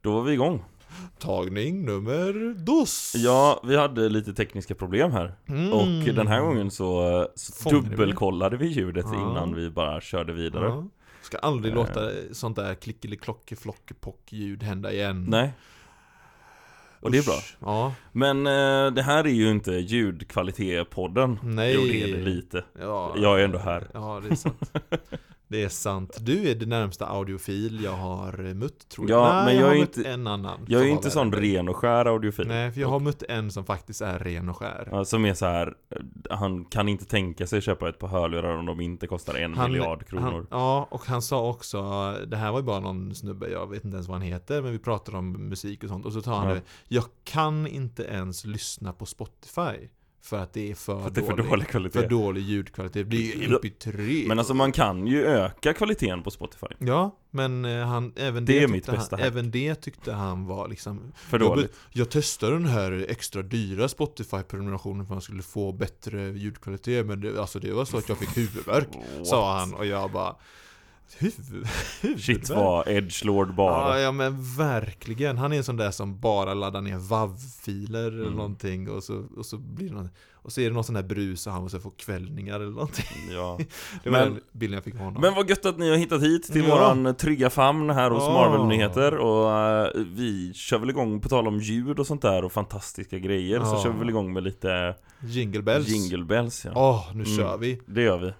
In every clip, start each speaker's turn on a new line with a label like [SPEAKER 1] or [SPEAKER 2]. [SPEAKER 1] Då var vi igång.
[SPEAKER 2] Tagning nummer dos.
[SPEAKER 1] Ja, vi hade lite tekniska problem här.
[SPEAKER 2] Mm.
[SPEAKER 1] Och den här gången så, så
[SPEAKER 2] Fångade vi.
[SPEAKER 1] dubbelkollade vi ljudet
[SPEAKER 2] Ja.
[SPEAKER 1] innan vi bara körde vidare. Eh.
[SPEAKER 2] Ja. Ska aldrig låta sånt där klickeliklockepock-ljud hända igen.
[SPEAKER 1] Nej. Och det är bra.
[SPEAKER 2] Usch. Ja,
[SPEAKER 1] Men eh, det här är ju inte ljudkvalitet-podden.
[SPEAKER 2] nej.
[SPEAKER 1] Jo, det är det lite.
[SPEAKER 2] Ja.
[SPEAKER 1] Jag är ändå här.
[SPEAKER 2] Ja, det är sant. Det är sant. Du är det närmsta audiofil jag har mött tror jag.
[SPEAKER 1] Ja,
[SPEAKER 2] Nej,
[SPEAKER 1] men jag
[SPEAKER 2] har
[SPEAKER 1] är
[SPEAKER 2] mött
[SPEAKER 1] inte-
[SPEAKER 2] en annan.
[SPEAKER 1] Jag är
[SPEAKER 2] som
[SPEAKER 1] ju
[SPEAKER 2] var
[SPEAKER 1] inte
[SPEAKER 2] värre.
[SPEAKER 1] sån ren och skär audiofil.
[SPEAKER 2] Nej, för jag har mött en som faktiskt är ren och skär.
[SPEAKER 1] Ja, Som är så här, eh, han kan inte tänka sig köpa ett par hörlurar om de inte kostar en miljard kronor.
[SPEAKER 2] Han, ja, och han sa också, det här var ju bara någon snubbe, jag vet inte ens vad han heter, men vi pratade om musik och sånt. Och så tar han
[SPEAKER 1] Ja.
[SPEAKER 2] det, jag kan inte ens lyssna på Spotify. För att det är för,
[SPEAKER 1] för att det är för
[SPEAKER 2] dålig,
[SPEAKER 1] dålig kvalitet.
[SPEAKER 2] för dålig ljudkvalitet. Det är ju MP3.
[SPEAKER 1] Men alltså man kan ju öka kvaliteten på Spotify.
[SPEAKER 2] Ja, men eh, han, även
[SPEAKER 1] Det
[SPEAKER 2] det,
[SPEAKER 1] är mitt
[SPEAKER 2] tyckte
[SPEAKER 1] bästa
[SPEAKER 2] han,
[SPEAKER 1] hack.
[SPEAKER 2] även det tyckte han var liksom
[SPEAKER 1] För
[SPEAKER 2] jag, be-
[SPEAKER 1] dåligt.
[SPEAKER 2] jag testade den här extra dyra Spotify-prenumerationen för att man skulle få bättre ljudkvalitet Men det, alltså det var så att jag fick huvudvärk Sa han och jag bara Huvud,
[SPEAKER 1] Shit
[SPEAKER 2] huvudvärk?
[SPEAKER 1] vad edgelord
[SPEAKER 2] Ja,
[SPEAKER 1] bara.
[SPEAKER 2] ja men verkligen. Han är en sån där som bara laddar ner WAV-filer eller
[SPEAKER 1] Mm.
[SPEAKER 2] någonting och så, och så blir det någon, Och så är det någon sån där brus och han måste få kvällningar eller någonting.
[SPEAKER 1] Ja.
[SPEAKER 2] Det var
[SPEAKER 1] Men-
[SPEAKER 2] den bilden jag fick av honom.
[SPEAKER 1] Men vad gött att ni har hittat hit till
[SPEAKER 2] Ja.
[SPEAKER 1] våran trygga famn här hos
[SPEAKER 2] Ja.
[SPEAKER 1] Marvel-nyheter och eh, vi kör väl igång, på tal om ljud och sånt där och fantastiska grejer, så
[SPEAKER 2] Ja.
[SPEAKER 1] kör vi väl igång med lite
[SPEAKER 2] Jingle bells.
[SPEAKER 1] jingle bells ja.
[SPEAKER 2] Åh, nu
[SPEAKER 1] Mm.
[SPEAKER 2] kör vi.
[SPEAKER 1] Det gör vi.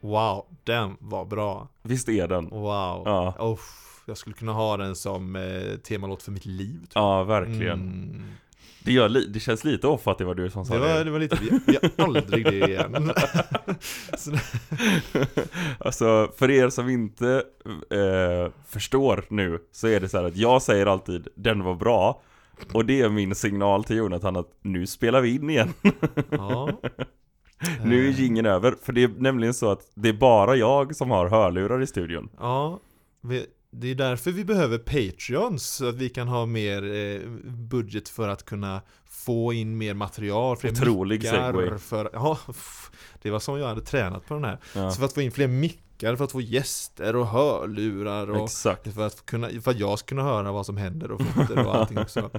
[SPEAKER 2] Wow, den var bra.
[SPEAKER 1] Visst är den?
[SPEAKER 2] Wow.
[SPEAKER 1] Ja.
[SPEAKER 2] Uff, jag skulle kunna ha den som eh, temalåt för mitt liv. tror
[SPEAKER 1] Ja,
[SPEAKER 2] jag.
[SPEAKER 1] verkligen.
[SPEAKER 2] Mm.
[SPEAKER 1] Det, gör li- det känns lite off att det var du som sa
[SPEAKER 2] Det, var, det var lite, vi, vi har aldrig det igen.
[SPEAKER 1] Alltså, för er som inte eh, förstår nu så är det så här att jag säger alltid 'Den var bra' och det är min signal till Jonathan att nu spelar vi in igen.
[SPEAKER 2] Ja.
[SPEAKER 1] Nu är
[SPEAKER 2] Eh,
[SPEAKER 1] jingeln över, för det är nämligen så att det är bara jag som har hörlurar i studion.
[SPEAKER 2] Ja, vi, det är därför vi behöver Patreons, så att vi kan ha mer eh, budget för att kunna få in mer material, fler
[SPEAKER 1] Otrolig
[SPEAKER 2] mickar
[SPEAKER 1] segway.
[SPEAKER 2] för, ja, pff, det var som jag hade tränat på den här.
[SPEAKER 1] Ja,
[SPEAKER 2] Så för att få in fler mickar, för att få gäster och hörlurar och
[SPEAKER 1] exakt.
[SPEAKER 2] för att, kunna, för att jag ska kunna höra vad som händer och fötter och allting också.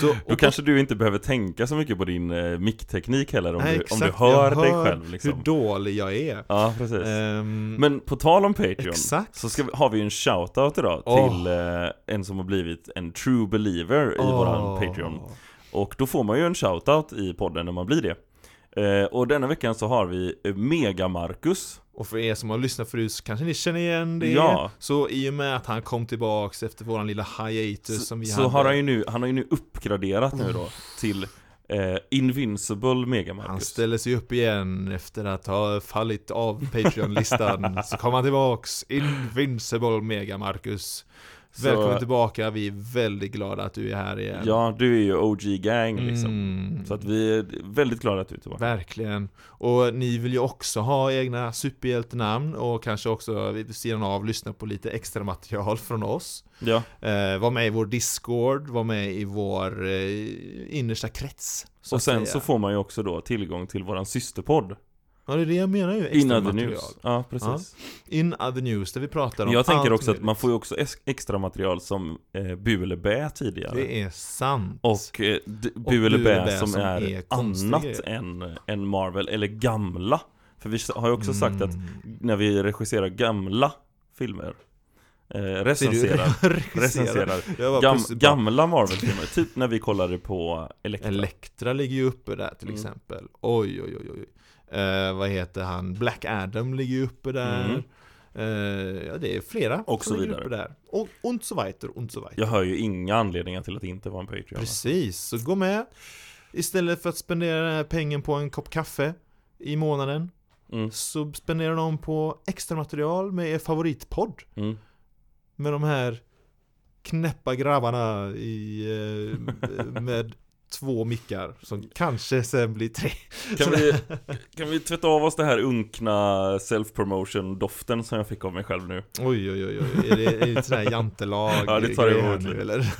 [SPEAKER 2] Så, och
[SPEAKER 1] Då kanske du inte behöver tänka så mycket på din eh, mickteknik heller om,
[SPEAKER 2] Nej,
[SPEAKER 1] du, om du
[SPEAKER 2] exakt,
[SPEAKER 1] hör
[SPEAKER 2] jag
[SPEAKER 1] dig
[SPEAKER 2] hör
[SPEAKER 1] själv liksom.
[SPEAKER 2] hur dålig jag är.
[SPEAKER 1] Ja, precis.
[SPEAKER 2] Ehm,
[SPEAKER 1] Men på tal om Patreon
[SPEAKER 2] exakt.
[SPEAKER 1] så ska vi, har vi ju en shoutout idag
[SPEAKER 2] Åh.
[SPEAKER 1] till eh, en som har blivit en true believer i våran Patreon. Och då får man ju en shoutout i podden när man blir det. Eh, och denna veckan så har vi eh, Mega Marcus.
[SPEAKER 2] Och för er som har lyssnat förut så kanske ni känner igen det.
[SPEAKER 1] Ja.
[SPEAKER 2] Så i och med att han kom tillbaks efter våran lilla hiatus
[SPEAKER 1] Så,
[SPEAKER 2] som vi
[SPEAKER 1] så
[SPEAKER 2] hade.
[SPEAKER 1] har han ju nu, han har ju nu uppgraderat nu då till eh, Invincible Mega
[SPEAKER 2] han
[SPEAKER 1] Marcus.
[SPEAKER 2] ställer sig upp igen efter att ha fallit av Patreon-listan. så kom han tillbaks, Invincible Mega Marcus.
[SPEAKER 1] Så-
[SPEAKER 2] Välkommen tillbaka, vi är väldigt glada att du är här igen.
[SPEAKER 1] Ja, du är ju OG Gang liksom.
[SPEAKER 2] Mm.
[SPEAKER 1] Så att vi är väldigt glada att du är tillbaka.
[SPEAKER 2] Verkligen. Och ni vill ju också ha egna superhjältenamn och kanske också vid sidan av lyssna på lite extra material från oss.
[SPEAKER 1] Ja,
[SPEAKER 2] Eh, var med i vår Discord, var med i vår eh, innersta krets.
[SPEAKER 1] och
[SPEAKER 2] att
[SPEAKER 1] sen
[SPEAKER 2] säga.
[SPEAKER 1] så får man ju också då tillgång till våran systerpodd.
[SPEAKER 2] Ja, det är det jag menar ju.
[SPEAKER 1] In
[SPEAKER 2] Extra
[SPEAKER 1] other
[SPEAKER 2] material.
[SPEAKER 1] news. Ja, precis.
[SPEAKER 2] In other news, där vi pratar om
[SPEAKER 1] Jag tänker
[SPEAKER 2] allt
[SPEAKER 1] också att
[SPEAKER 2] möjligt.
[SPEAKER 1] man får ju också es- extra material som eh, Bu eller Bä tidigare.
[SPEAKER 2] Det är sant.
[SPEAKER 1] Och eh, d-
[SPEAKER 2] Och
[SPEAKER 1] Bu eller
[SPEAKER 2] Bu
[SPEAKER 1] Bä
[SPEAKER 2] eller Bä
[SPEAKER 1] som,
[SPEAKER 2] som
[SPEAKER 1] är,
[SPEAKER 2] är konstiga
[SPEAKER 1] annat
[SPEAKER 2] grejer.
[SPEAKER 1] än, än Marvel, eller gamla. För vi s- har ju också sagt att
[SPEAKER 2] Mm.
[SPEAKER 1] när vi regisserar gamla filmer, eh, recenserar,
[SPEAKER 2] recenserar.
[SPEAKER 1] recenserar
[SPEAKER 2] Jag var
[SPEAKER 1] gam,
[SPEAKER 2] precis-
[SPEAKER 1] gamla Marvel-filmer, typ när vi kollade på Elektra.
[SPEAKER 2] Elektra ligger ju uppe där till
[SPEAKER 1] Mm.
[SPEAKER 2] exempel. Oj, oj, oj, oj. Eh, vad heter han? Black Adam ligger ju uppe där.
[SPEAKER 1] Mm.
[SPEAKER 2] Eh, ja, det är flera
[SPEAKER 1] Och
[SPEAKER 2] som
[SPEAKER 1] så
[SPEAKER 2] ligger
[SPEAKER 1] vidare.
[SPEAKER 2] uppe där. Och, und so weiter, und so weiter.
[SPEAKER 1] Jag hör ju inga anledningar till att inte vara en Patreon. va?
[SPEAKER 2] Precis, så gå med. Istället för att spendera den här pengen på en kopp kaffe i månaden
[SPEAKER 1] Mm,
[SPEAKER 2] så spenderar de på extra material med er favoritpodd.
[SPEAKER 1] mm.
[SPEAKER 2] Med de här knäppa grabbarna i, eh, med två mickar som kanske sen blir tre.
[SPEAKER 1] Kan vi, kan vi tvätta av oss det här unkna self-promotion doften som jag fick av mig själv nu?
[SPEAKER 2] Oj, oj, oj, oj. Är det, är det sån här jantelag
[SPEAKER 1] Ja, det tar
[SPEAKER 2] grej
[SPEAKER 1] emot
[SPEAKER 2] här nu,
[SPEAKER 1] lite.
[SPEAKER 2] eller?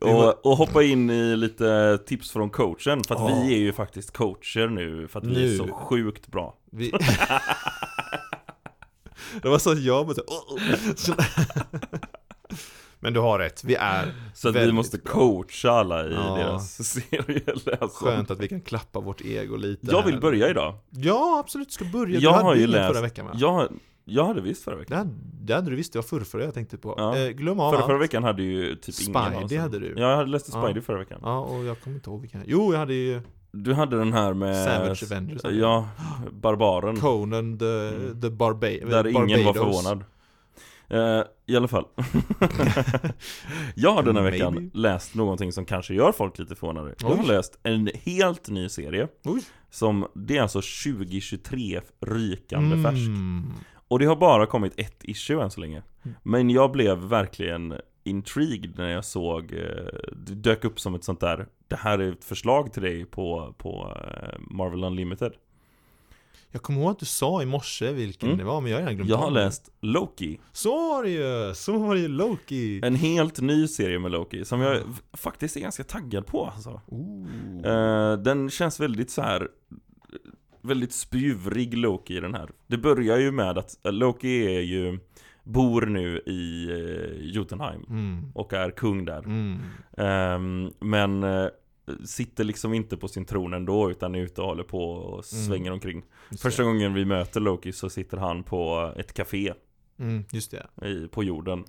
[SPEAKER 1] Och, och hoppa in i lite tips från coachen, för att
[SPEAKER 2] Ja.
[SPEAKER 1] vi är ju faktiskt coacher nu, för att vi är
[SPEAKER 2] Nu.
[SPEAKER 1] så sjukt bra.
[SPEAKER 2] Vi... det var så att jag bara så, så... Men du har rätt, vi är
[SPEAKER 1] Så att vi
[SPEAKER 2] Väldigt
[SPEAKER 1] måste
[SPEAKER 2] bra.
[SPEAKER 1] coacha alla i
[SPEAKER 2] Ja.
[SPEAKER 1] deras serieläsare.
[SPEAKER 2] skönt att vi kan klappa vårt ego lite
[SPEAKER 1] Jag vill
[SPEAKER 2] här.
[SPEAKER 1] börja idag.
[SPEAKER 2] Ja, absolut, du ska börja.
[SPEAKER 1] Jag
[SPEAKER 2] du hade
[SPEAKER 1] har ju
[SPEAKER 2] ingen
[SPEAKER 1] läst-
[SPEAKER 2] förra veckan va?
[SPEAKER 1] Jag, jag hade visst förra veckan.
[SPEAKER 2] Det, hade, det hade du visst, det var förrförra jag tänkte på.
[SPEAKER 1] Ja.
[SPEAKER 2] Eh, glöm av
[SPEAKER 1] Förra,
[SPEAKER 2] allt.
[SPEAKER 1] förra veckan hade ju typ ingen av oss.
[SPEAKER 2] Spidey hade du.
[SPEAKER 1] Ja, jag hade läst
[SPEAKER 2] Ja.
[SPEAKER 1] Spidey förra veckan.
[SPEAKER 2] Ja, och jag kommer inte ihåg vilken. Jo, jag hade ju
[SPEAKER 1] Du hade den här med...
[SPEAKER 2] Savage Avengers.
[SPEAKER 1] Ja, Barbaren.
[SPEAKER 2] Conan the,
[SPEAKER 1] Mm.
[SPEAKER 2] the Barba-
[SPEAKER 1] Där ingen var
[SPEAKER 2] Barbados.
[SPEAKER 1] förvånad. Eh, I alla fall. jag har den här veckan
[SPEAKER 2] Maybe.
[SPEAKER 1] läst någonting som kanske gör folk lite förvånade. Jag har
[SPEAKER 2] Oj.
[SPEAKER 1] läst en helt ny serie.
[SPEAKER 2] Oj.
[SPEAKER 1] Som, det är alltså 2023 rykande
[SPEAKER 2] Mm.
[SPEAKER 1] färsk. Och det har bara kommit ett issue än så länge.
[SPEAKER 2] Mm.
[SPEAKER 1] Men jag blev verkligen intrigued när jag såg, eh, det dök upp som ett sånt där, det här är ett förslag till dig på, på eh, Marvel Unlimited.
[SPEAKER 2] Jag kommer ihåg att du sa i morse vilken
[SPEAKER 1] Mm.
[SPEAKER 2] det var, men jag har redan glömt
[SPEAKER 1] Jag har
[SPEAKER 2] av
[SPEAKER 1] läst Loki,
[SPEAKER 2] Så var det ju! Så var det ju Loki!
[SPEAKER 1] en helt ny serie med Loki som jag v- faktiskt är ganska taggad på alltså.
[SPEAKER 2] Ooh.
[SPEAKER 1] Eh, Den känns väldigt så här väldigt spjuvrig Loki i den här. Det börjar ju med att eh, Loki är ju, bor nu i eh, Jotunheim
[SPEAKER 2] Mm.
[SPEAKER 1] och är kung där.
[SPEAKER 2] Mm.
[SPEAKER 1] Ehm, men eh, sitter liksom inte på sin tron ändå utan är ute och håller på och svänger
[SPEAKER 2] Mm.
[SPEAKER 1] omkring.
[SPEAKER 2] Just
[SPEAKER 1] Första gången vi möter Loki så sitter han på ett café
[SPEAKER 2] det. Mm, just det.
[SPEAKER 1] i, på jorden.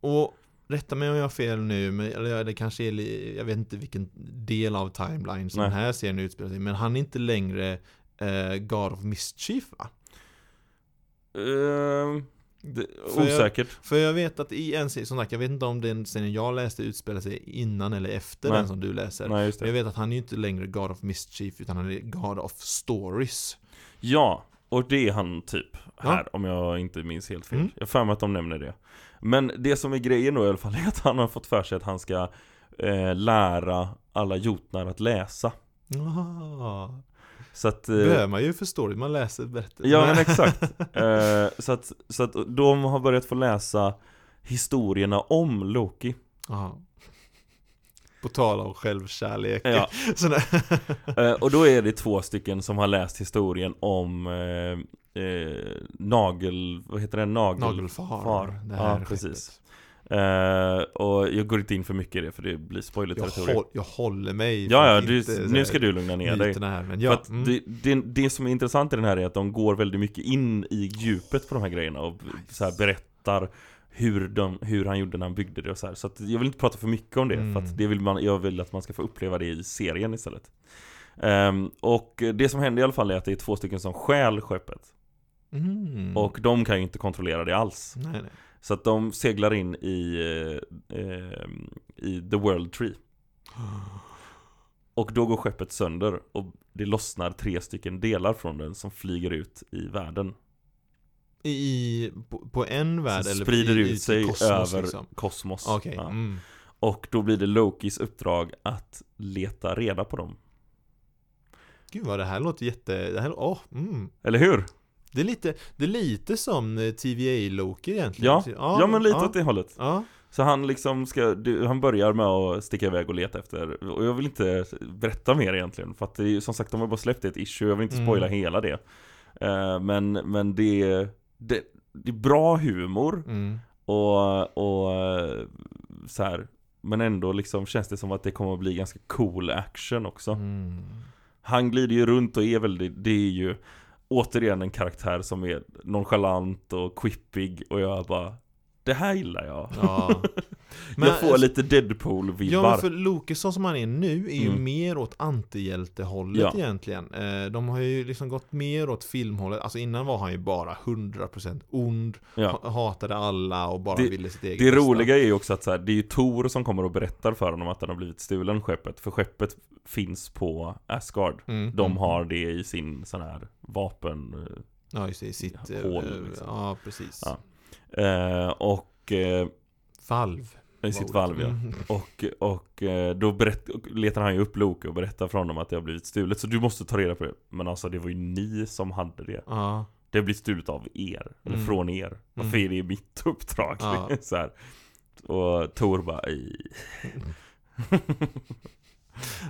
[SPEAKER 2] Och rätta mig om jag har fel nu, men, eller det kanske är, li- jag vet inte vilken del av timeline som
[SPEAKER 1] Nej.
[SPEAKER 2] den här serien utspelar sig i, men han är inte längre eh, God of Mischief va?
[SPEAKER 1] Ehm, det,
[SPEAKER 2] För jag-
[SPEAKER 1] osäkert.
[SPEAKER 2] För jag vet att i en serie, som sagt, jag vet inte om den serien jag läste utspelar sig innan eller efter
[SPEAKER 1] Nej.
[SPEAKER 2] den som du läser.
[SPEAKER 1] Nej just
[SPEAKER 2] Men jag
[SPEAKER 1] det.
[SPEAKER 2] vet att han är ju inte längre God of Mischief, utan han är God of Stories.
[SPEAKER 1] Ja, och det är han typ
[SPEAKER 2] Ja.
[SPEAKER 1] här om jag inte minns helt fel.
[SPEAKER 2] Mm.
[SPEAKER 1] Jag har för mig att de nämner det. Men det som är grejen då i alla fall är att han har fått för sig att han ska eh, lära alla jotnar att läsa.
[SPEAKER 2] Ah,
[SPEAKER 1] Så att... eh,
[SPEAKER 2] det behöver man ju för story, man läser berättelser.
[SPEAKER 1] Ja men exakt. Eh, så, att, så att de har börjat få läsa historierna om Loki.
[SPEAKER 2] Ja. På tal om självkärlek.
[SPEAKER 1] Ja.
[SPEAKER 2] Sådär.
[SPEAKER 1] Eh, och då är det två stycken som har läst historien om eh, eh, Nagel, vad heter den? Nagel?
[SPEAKER 2] Nagelfar.
[SPEAKER 1] Far.
[SPEAKER 2] Det här
[SPEAKER 1] Ja, precis.
[SPEAKER 2] skeppet.
[SPEAKER 1] Eh, och jag går inte in för mycket i det för det blir
[SPEAKER 2] Jag,
[SPEAKER 1] spoilerterritorium.
[SPEAKER 2] håll, jag håller mig.
[SPEAKER 1] Ja,
[SPEAKER 2] för
[SPEAKER 1] ja,
[SPEAKER 2] att
[SPEAKER 1] du,
[SPEAKER 2] inte så här
[SPEAKER 1] nu ska du lugna ner dig.
[SPEAKER 2] myterna Här, men
[SPEAKER 1] För
[SPEAKER 2] ja,
[SPEAKER 1] att
[SPEAKER 2] mm.
[SPEAKER 1] det, det, det som är intressant i den här är att de går väldigt mycket in i djupet på de här grejerna och b- så här berättar hur, de, hur han gjorde när han byggde det och så här. Så att jag vill inte prata för mycket om det, för att
[SPEAKER 2] Mm.
[SPEAKER 1] det vill man, jag vill att man ska få uppleva det i serien istället. Ehm, och det som händer i alla fall är att det är två stycken som stjäl skeppet.
[SPEAKER 2] Mm.
[SPEAKER 1] Och de kan ju inte kontrollera det alls.
[SPEAKER 2] Nej, nej.
[SPEAKER 1] Så att de seglar in i, eh, eh, i The World Tree. Och då går skeppet sönder och det lossnar tre stycken delar från den som flyger ut i världen.
[SPEAKER 2] I, på, på en värld
[SPEAKER 1] Som
[SPEAKER 2] eller
[SPEAKER 1] sprider
[SPEAKER 2] i,
[SPEAKER 1] ut
[SPEAKER 2] i
[SPEAKER 1] sig
[SPEAKER 2] kosmos,
[SPEAKER 1] över
[SPEAKER 2] liksom.
[SPEAKER 1] kosmos.
[SPEAKER 2] Okej.
[SPEAKER 1] Ja.
[SPEAKER 2] Mm.
[SPEAKER 1] Och då blir det Lokis uppdrag att leta reda på dem.
[SPEAKER 2] Gud vad det här låter jätte... Det, här, åh, mm.
[SPEAKER 1] Eller hur?
[SPEAKER 2] det, är, lite, det är lite som eh, TVA-Loki egentligen.
[SPEAKER 1] Ja. Ja, men lite åt det hållet.
[SPEAKER 2] Ja.
[SPEAKER 1] Så han liksom ska, du, han börjar med att sticka iväg och leta efter, och jag vill inte berätta mer egentligen för att det är ju som sagt, de har bara släppt ett issue, jag vill inte spoila
[SPEAKER 2] Mm.
[SPEAKER 1] hela det. Eh, men, men det, är- det, det är bra humor,
[SPEAKER 2] Mm.
[SPEAKER 1] Och, och eh, så här. Men ändå liksom känns det som att det kommer att bli ganska cool action också.
[SPEAKER 2] Mm.
[SPEAKER 1] Han glider ju runt och är väldigt, det är ju återigen en karaktär som är nonchalant och quippig och jag bara Det här gillar jag.
[SPEAKER 2] Ja. alltså-
[SPEAKER 1] jag får lite Deadpool-vibbar.
[SPEAKER 2] Ja men för Lokesson som han är nu är ju
[SPEAKER 1] Mm.
[SPEAKER 2] mer åt antihjältehållet
[SPEAKER 1] Ja.
[SPEAKER 2] egentligen. Eh, De har ju liksom gått mer åt filmhållet. Alltså innan var han ju bara 100% ond,
[SPEAKER 1] Ja.
[SPEAKER 2] ha- hatade alla och bara
[SPEAKER 1] Det-
[SPEAKER 2] ville sitt eget
[SPEAKER 1] Det
[SPEAKER 2] bästa.
[SPEAKER 1] roliga är ju också att så här, det är ju Tor som kommer och berättar för honom att han har blivit stulen skeppet. För skeppet finns på Asgard.
[SPEAKER 2] Mm.
[SPEAKER 1] De har det i sin sån här vapen...
[SPEAKER 2] Ja just det, i sitt... eh,
[SPEAKER 1] Hål, liksom.
[SPEAKER 2] Ja precis.
[SPEAKER 1] Ja. Eh, och eh,
[SPEAKER 2] Valv.
[SPEAKER 1] I sitt valv ja.
[SPEAKER 2] Mm.
[SPEAKER 1] Och, och eh, då berätt, och letar han ju upp Loke och berättar för honom att det har blivit stulet. Så du måste ta reda på det. Men alltså det var ju ni som hade det.
[SPEAKER 2] Ja.
[SPEAKER 1] Det har blivit stulet av er. Eller
[SPEAKER 2] Mm.
[SPEAKER 1] från er. Varför är det mitt uppdrag?
[SPEAKER 2] Ja.
[SPEAKER 1] så här. Och Tor bara "Ej."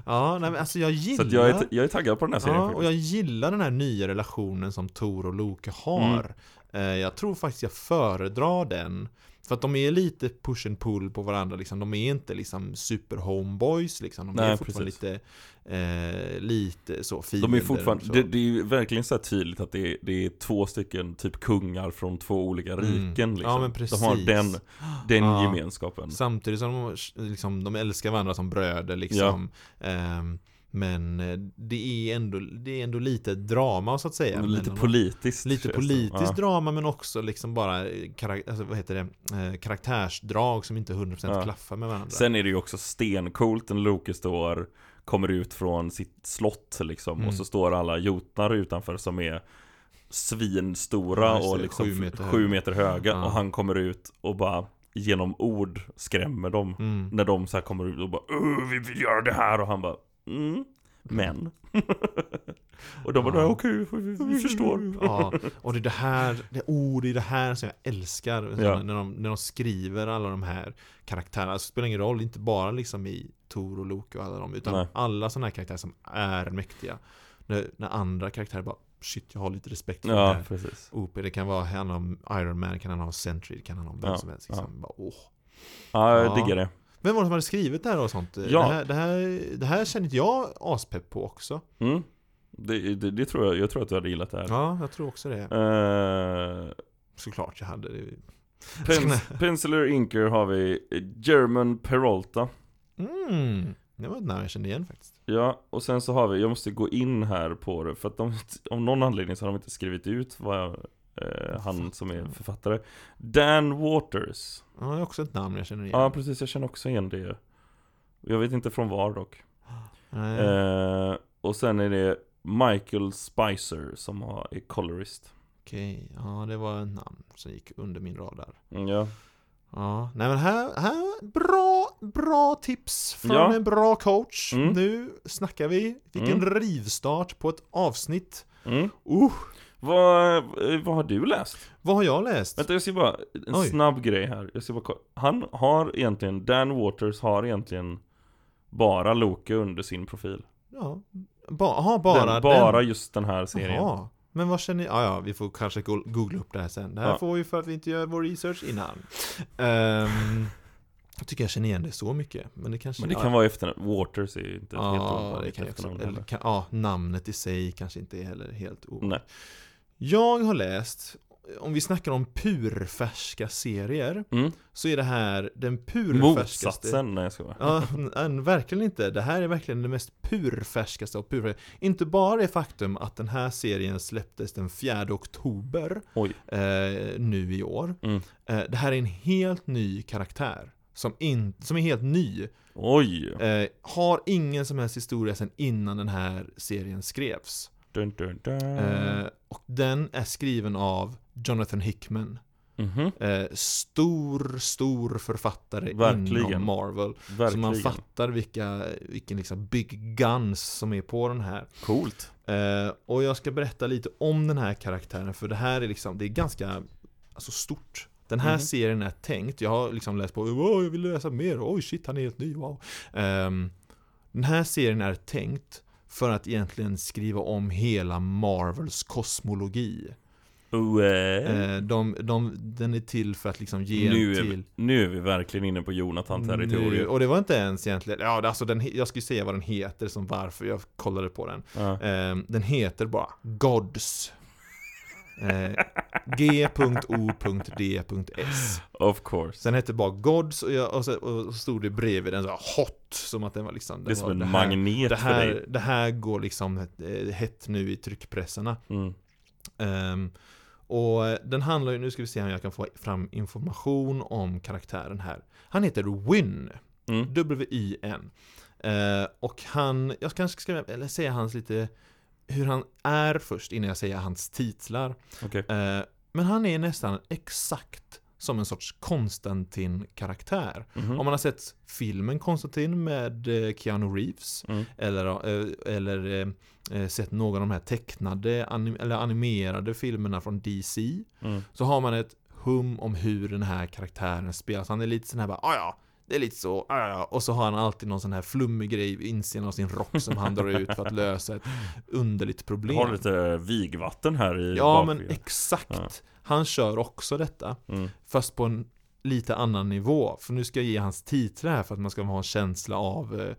[SPEAKER 2] ja, nej men alltså jag
[SPEAKER 1] Så
[SPEAKER 2] gillar
[SPEAKER 1] att jag, är, t- jag är taggad på den här serien
[SPEAKER 2] Ja, och
[SPEAKER 1] faktiskt.
[SPEAKER 2] jag gillar den här nya relationen som Tor och Loke
[SPEAKER 1] Mm.
[SPEAKER 2] har. Eh, Jag tror faktiskt jag föredrar den. För att de är lite push and pull på varandra liksom. De är inte liksom super homeboys liksom. De är
[SPEAKER 1] Nej,
[SPEAKER 2] fortfarande lite, eh, lite så fiender.
[SPEAKER 1] De är
[SPEAKER 2] och så.
[SPEAKER 1] fortfarande, det, det är ju verkligen så här tydligt att det är, det är två stycken typ kungar från två olika
[SPEAKER 2] Mm.
[SPEAKER 1] riken liksom.
[SPEAKER 2] Ja, men
[SPEAKER 1] De har
[SPEAKER 2] precis.
[SPEAKER 1] den, den
[SPEAKER 2] Ja.
[SPEAKER 1] gemenskapen.
[SPEAKER 2] Samtidigt som de, liksom, de älskar varandra som bröder liksom. Ehm, men eh, det är, ändå, det är ändå lite drama så att säga.
[SPEAKER 1] lite
[SPEAKER 2] mellan dem.
[SPEAKER 1] politiskt.
[SPEAKER 2] Lite
[SPEAKER 1] känns det.
[SPEAKER 2] politiskt
[SPEAKER 1] Ja.
[SPEAKER 2] drama men också liksom bara eh, karak- alltså, vad heter det? Eh, karaktärsdrag som inte 100%
[SPEAKER 1] Ja.
[SPEAKER 2] klaffar med varandra.
[SPEAKER 1] Sen är det ju också stencoolt när Loke står, kommer ut från sitt slott liksom
[SPEAKER 2] Mm.
[SPEAKER 1] och så står alla jotnar utanför som är svinstora
[SPEAKER 2] Ja, just
[SPEAKER 1] och
[SPEAKER 2] det,
[SPEAKER 1] liksom
[SPEAKER 2] sju
[SPEAKER 1] sju
[SPEAKER 2] meter
[SPEAKER 1] meter,
[SPEAKER 2] höga.
[SPEAKER 1] höga
[SPEAKER 2] Ja.
[SPEAKER 1] och han kommer ut och bara genom ord skrämmer dem.
[SPEAKER 2] Mm.
[SPEAKER 1] När de så här kommer ut och bara "Åh, vi vill göra det här och han bara mm, men. och de bara
[SPEAKER 2] Ja.
[SPEAKER 1] ja. okej, vi, vi förstår.
[SPEAKER 2] Ja, och det är det här, det, oh, det är det här som jag älskar.
[SPEAKER 1] Ja.
[SPEAKER 2] När, de, när de skriver alla de här karaktärerna. Alltså, det spelar ingen roll, inte bara liksom i Tor och Loke och alla de. Utan
[SPEAKER 1] Nej.
[SPEAKER 2] alla sådana här karaktärer som är mäktiga. När, när andra karaktärer bara, shit jag har lite respekt för det
[SPEAKER 1] Ja,
[SPEAKER 2] här.
[SPEAKER 1] precis.
[SPEAKER 2] OP, det kan vara han om Iron Man, kan han ha Sentry, kan han ha vem
[SPEAKER 1] Ja,
[SPEAKER 2] som helst. Liksom. Bara, åh.
[SPEAKER 1] Ja, jag
[SPEAKER 2] Ja.
[SPEAKER 1] diggar det.
[SPEAKER 2] Vem var det som hade skrivit det här och sånt?
[SPEAKER 1] Ja.
[SPEAKER 2] Det, här, det, här, det här kände inte jag aspepp på också.
[SPEAKER 1] Mm. Det, det, det tror jag, jag tror att du hade gillat det här.
[SPEAKER 2] Ja, jag tror också det.
[SPEAKER 1] Eh,
[SPEAKER 2] Såklart jag hade det.
[SPEAKER 1] Pens, Penciler Inker har vi German Peralta.
[SPEAKER 2] Mm. Det var ett namn jag kände igen faktiskt.
[SPEAKER 1] Ja, och sen så har vi, jag måste gå in här på det för att de, av någon anledning så har de inte skrivit ut vad jag, eh, han som är författare. Dan Waters.
[SPEAKER 2] Ja, det är också ett namn jag känner igen.
[SPEAKER 1] Ja, precis. Jag känner också igen det. Jag vet inte från var dock.
[SPEAKER 2] Nej.
[SPEAKER 1] Eh, och sen är det Michael Spicer som har, är colorist.
[SPEAKER 2] Okej, ja det var ett namn som gick under min radar.
[SPEAKER 1] Mm, ja.
[SPEAKER 2] Ja, nej men här, här bra, bra tips från
[SPEAKER 1] Ja.
[SPEAKER 2] en bra coach.
[SPEAKER 1] Mm.
[SPEAKER 2] Nu snackar vi. Vilken rivstart på ett avsnitt.
[SPEAKER 1] Mm.
[SPEAKER 2] Uh,
[SPEAKER 1] Vad, eh, vad har du läst?
[SPEAKER 2] vad har jag läst?
[SPEAKER 1] Vänta jag ser bara, en
[SPEAKER 2] Oj.
[SPEAKER 1] snabb grej här. Jag ser bara, kolla. han har egentligen, Dan Waters har egentligen bara Loke under sin profil.
[SPEAKER 2] Ja, ba, aha, bara
[SPEAKER 1] den,
[SPEAKER 2] den.
[SPEAKER 1] bara just den här serien.
[SPEAKER 2] Jaha. Men vad känner jag? Ja, ja, vi får kanske go- googla upp det här sen. Det här
[SPEAKER 1] Ja.
[SPEAKER 2] får vi för att vi inte gör vår research innan. Ehm, jag tycker jag känner igen det så mycket. Men det kanske...
[SPEAKER 1] Men det kan
[SPEAKER 2] ja,
[SPEAKER 1] vara efternamn, Waters är ju inte ett helt
[SPEAKER 2] Ja, det
[SPEAKER 1] ovanligt
[SPEAKER 2] kan jag också.
[SPEAKER 1] efternamn
[SPEAKER 2] Eller,
[SPEAKER 1] heller.
[SPEAKER 2] kan, ja, namnet i sig kanske inte är heller helt o.
[SPEAKER 1] Nej.
[SPEAKER 2] Jag har läst, om vi snackar om purfärska serier,
[SPEAKER 1] Mm.
[SPEAKER 2] så är det här den purfärskaste...
[SPEAKER 1] Motsatsen, nej jag skojar.
[SPEAKER 2] Ja, n- verkligen inte. Det här är verkligen det mest purfärskaste av purfärska. Inte bara det faktum att den här serien släpptes den 4 oktober
[SPEAKER 1] Oj.
[SPEAKER 2] eh, nu i år.
[SPEAKER 1] Mm.
[SPEAKER 2] Eh, det här är en helt ny karaktär. Som, in, som är helt ny.
[SPEAKER 1] Oj!
[SPEAKER 2] Eh, har ingen som helst historia sedan innan den här serien skrevs.
[SPEAKER 1] Dun, dun, dun. Mm.
[SPEAKER 2] Eh, och den är skriven av Jonathan Hickman.
[SPEAKER 1] Mhm,
[SPEAKER 2] Eh, stor, stor författare
[SPEAKER 1] Verkligen.
[SPEAKER 2] inom Marvel. Så
[SPEAKER 1] verkligen.
[SPEAKER 2] man fattar vilka, vilken liksom big guns som är på den här.
[SPEAKER 1] Coolt.
[SPEAKER 2] Eh, och jag ska berätta lite om den här karaktären för det här är liksom, det är ganska alltså, stort. Den här
[SPEAKER 1] Mhm.
[SPEAKER 2] serien är tänkt, jag har liksom läst på, wow, jag vill läsa mer, oj shit han är helt ny, wow. Ehm, den här serien är tänkt för att egentligen skriva om hela Marvels kosmologi.
[SPEAKER 1] Oh, eh,
[SPEAKER 2] Eh, de, de, den är till för att liksom ge
[SPEAKER 1] nu,
[SPEAKER 2] en
[SPEAKER 1] är
[SPEAKER 2] till
[SPEAKER 1] vi, nu är vi verkligen inne på
[SPEAKER 2] nu,
[SPEAKER 1] Jonathan-territorium.
[SPEAKER 2] och det var inte ens egentligen, ja alltså den, he- jag skulle säga vad den heter som varför jag kollade på den.
[SPEAKER 1] Ja.
[SPEAKER 2] Ehm, den heter bara Gods. Eh, G.O.D.S.
[SPEAKER 1] Of course.
[SPEAKER 2] Sen hette det bara Gods och, jag, och, så, och så stod det bredvid den så här hot, som att den var liksom den
[SPEAKER 1] Det är som
[SPEAKER 2] var,
[SPEAKER 1] en
[SPEAKER 2] här-
[SPEAKER 1] magnet
[SPEAKER 2] det
[SPEAKER 1] för dig.
[SPEAKER 2] här, det här går liksom eh, hett nu i tryckpressarna.
[SPEAKER 1] Mm.
[SPEAKER 2] Ehm, och eh, den handlar ju, nu ska vi se om jag kan få fram information om karaktären här. Han heter Wynn.
[SPEAKER 1] Mm.
[SPEAKER 2] W-I-N. Eh, och han, jag kanske ska eller säga hans lite hur han är först innan jag säger hans titlar.
[SPEAKER 1] Okej.
[SPEAKER 2] Eh, men han är nästan exakt som en sorts Konstantin-karaktär.
[SPEAKER 1] Mhm.
[SPEAKER 2] Om man har sett filmen Konstantin med eh, Keanu Reeves
[SPEAKER 1] Mm.
[SPEAKER 2] eller, eh, eller eh, eh, sett någon av de här tecknade anim- eller animerade filmerna från DC
[SPEAKER 1] Mm.
[SPEAKER 2] så har man ett hum om hur den här karaktären spelas. Han är lite sån här bara "Ah, ja, det är lite så, ah, ja. och så har han alltid någon sån här flummig grej i insidan av sin rock som han drar ut för att lösa ett underligt problem.
[SPEAKER 1] Har lite vigvatten här i
[SPEAKER 2] Ja men
[SPEAKER 1] bakgrunden.
[SPEAKER 2] exakt.
[SPEAKER 1] Ja.
[SPEAKER 2] Han kör också detta.
[SPEAKER 1] Mm.
[SPEAKER 2] Fast på en lite annan nivå. För nu ska jag ge hans titlar här för att man ska ha en känsla av eh,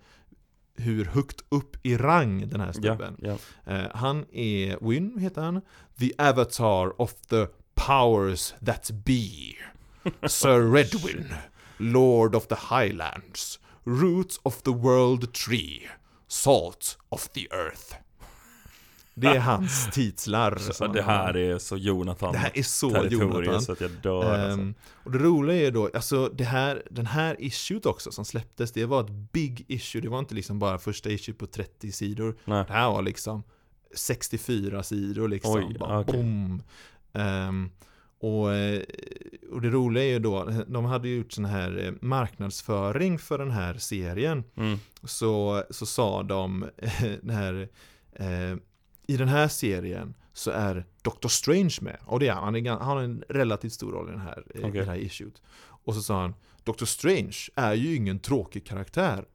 [SPEAKER 2] hur högt upp i rang den här
[SPEAKER 1] Ja,
[SPEAKER 2] snubben.
[SPEAKER 1] ja.
[SPEAKER 2] Eh, han är, Win heter han. The Avatar of the Powers That Be. Sir Redwin. Lord of the Highlands. Roots of the World Tree. Salt of the Earth. Det är hans titlar.
[SPEAKER 1] Så
[SPEAKER 2] som
[SPEAKER 1] det
[SPEAKER 2] han Alltså, har.
[SPEAKER 1] här är så Jonathan
[SPEAKER 2] Det här är så
[SPEAKER 1] territorium
[SPEAKER 2] Jonathan.
[SPEAKER 1] så att jag dör alltså.
[SPEAKER 2] Ehm, och det roliga är då, alltså det här, den här issuet också som släpptes, det var ett big issue. Det var inte liksom bara första issue på 30 sidor.
[SPEAKER 1] Nej.
[SPEAKER 2] Det här var liksom 64 sidor liksom.
[SPEAKER 1] Oj,
[SPEAKER 2] bara
[SPEAKER 1] okej.
[SPEAKER 2] boom. Ehm, och, eh, och det roliga är ju då, de hade ju gjort sån här eh, marknadsföring för den här serien
[SPEAKER 1] Mm.
[SPEAKER 2] så, så sa de den här, eh, i den här serien så är Dr. Strange med. Och det är han. han, är, gan- han har en relativt stor roll i den här, eh, i
[SPEAKER 1] Okej.
[SPEAKER 2] det här issuet. Och så sa han, Dr. Strange är ju ingen tråkig karaktär.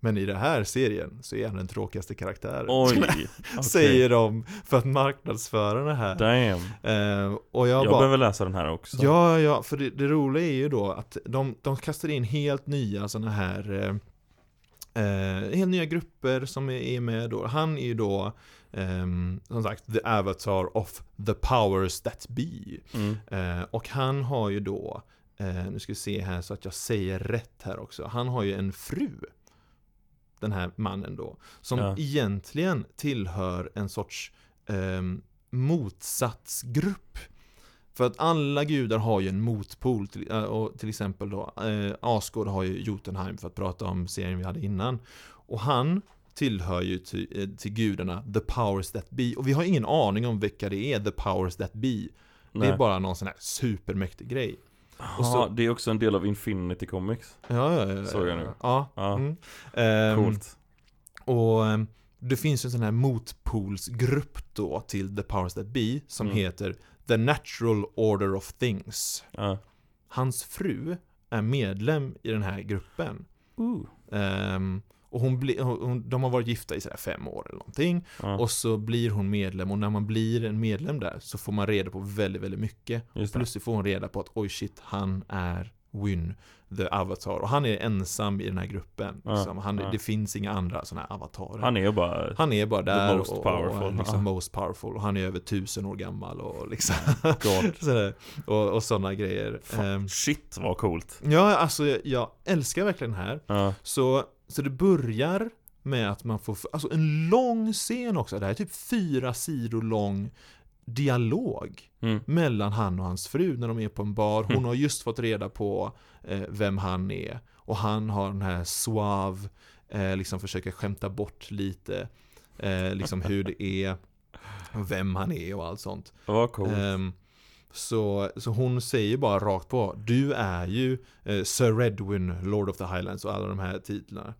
[SPEAKER 2] Men i den här serien så är han den tråkigaste karaktären.
[SPEAKER 1] Oj, okej.
[SPEAKER 2] Säger de för att marknadsföra det här.
[SPEAKER 1] Damn.
[SPEAKER 2] Eh, och jag,
[SPEAKER 1] Jag
[SPEAKER 2] bara,
[SPEAKER 1] behöver läsa den här också.
[SPEAKER 2] Ja, ja, för det, det roliga är ju då att de, de kastar in helt nya sådana här eh, eh, Helt nya grupper som är, är med då. Han är ju då ehm, som sagt the avatar of the powers that be.
[SPEAKER 1] Mm.
[SPEAKER 2] Eh, och han har ju då eh, Nu ska vi se här så att jag säger rätt här också. Han har ju en fru. Den här mannen då. Som
[SPEAKER 1] Ja.
[SPEAKER 2] egentligen tillhör en sorts ehm, motsatsgrupp. För att alla gudar har ju en motpol. Till, eh, och till exempel då eh, Asgård har ju Jotunheim för att prata om serien vi hade innan. Och han tillhör ju till, eh, till gudarna The Powers That Be. Och vi har ingen aning om vilka det är The Powers That Be. Det är
[SPEAKER 1] Nej.
[SPEAKER 2] bara någon sån här supermäktig grej. och så-
[SPEAKER 1] Aha, det är också en del av Infinity Comics.
[SPEAKER 2] Ja, ja, ja.
[SPEAKER 1] Såg jag nu.
[SPEAKER 2] Ja.
[SPEAKER 1] Ja,
[SPEAKER 2] Mm. Ehm,
[SPEAKER 1] coolt.
[SPEAKER 2] Och ehm, det finns ju en sån här motpolsgrupp då till The Powers That Be som
[SPEAKER 1] Mm.
[SPEAKER 2] heter The Natural Order of Things.
[SPEAKER 1] Ja.
[SPEAKER 2] Hans fru är medlem i den här gruppen. Ehm, och hon bli, hon, hon- de har varit gifta i sådär fem år eller någonting.
[SPEAKER 1] Ja,
[SPEAKER 2] Och så blir hon medlem och när man blir en medlem där så får man reda på väldigt, väldigt mycket.
[SPEAKER 1] just det.
[SPEAKER 2] Plus så får hon reda på att oj shit, han är Wyn, the avatar. Och han är ensam i den här gruppen.
[SPEAKER 1] Ja,
[SPEAKER 2] liksom. han,
[SPEAKER 1] ja.
[SPEAKER 2] Det finns inga andra sådana här avatarer. Han,
[SPEAKER 1] Han är ju bara...
[SPEAKER 2] är bara där
[SPEAKER 1] most
[SPEAKER 2] och, och
[SPEAKER 1] powerful,
[SPEAKER 2] är liksom
[SPEAKER 1] ja.
[SPEAKER 2] most powerful. Och han är över tusen år gammal och liksom
[SPEAKER 1] God.
[SPEAKER 2] sådär. och, och sådana grejer. Ehm,
[SPEAKER 1] Fan, shit vad coolt.
[SPEAKER 2] ja, alltså jag, jag älskar verkligen den här.
[SPEAKER 1] Ja,
[SPEAKER 2] Så, så det börjar med att man får, alltså en lång scen också. Det här är typ fyra sidor lång dialog
[SPEAKER 1] mm.
[SPEAKER 2] mellan han och hans fru när de är på en bar. Hon
[SPEAKER 1] Mm.
[SPEAKER 2] har just fått reda på eh, vem han är. Och han har den här suave, eh, liksom försöka skämta bort lite, eh, liksom hur det är, och vem han är och allt sånt.
[SPEAKER 1] vad coolt.
[SPEAKER 2] Ehm, så, så hon säger bara rakt på, du är ju eh, Sir Redwin, Lord of the Highlands och alla de här titlarna.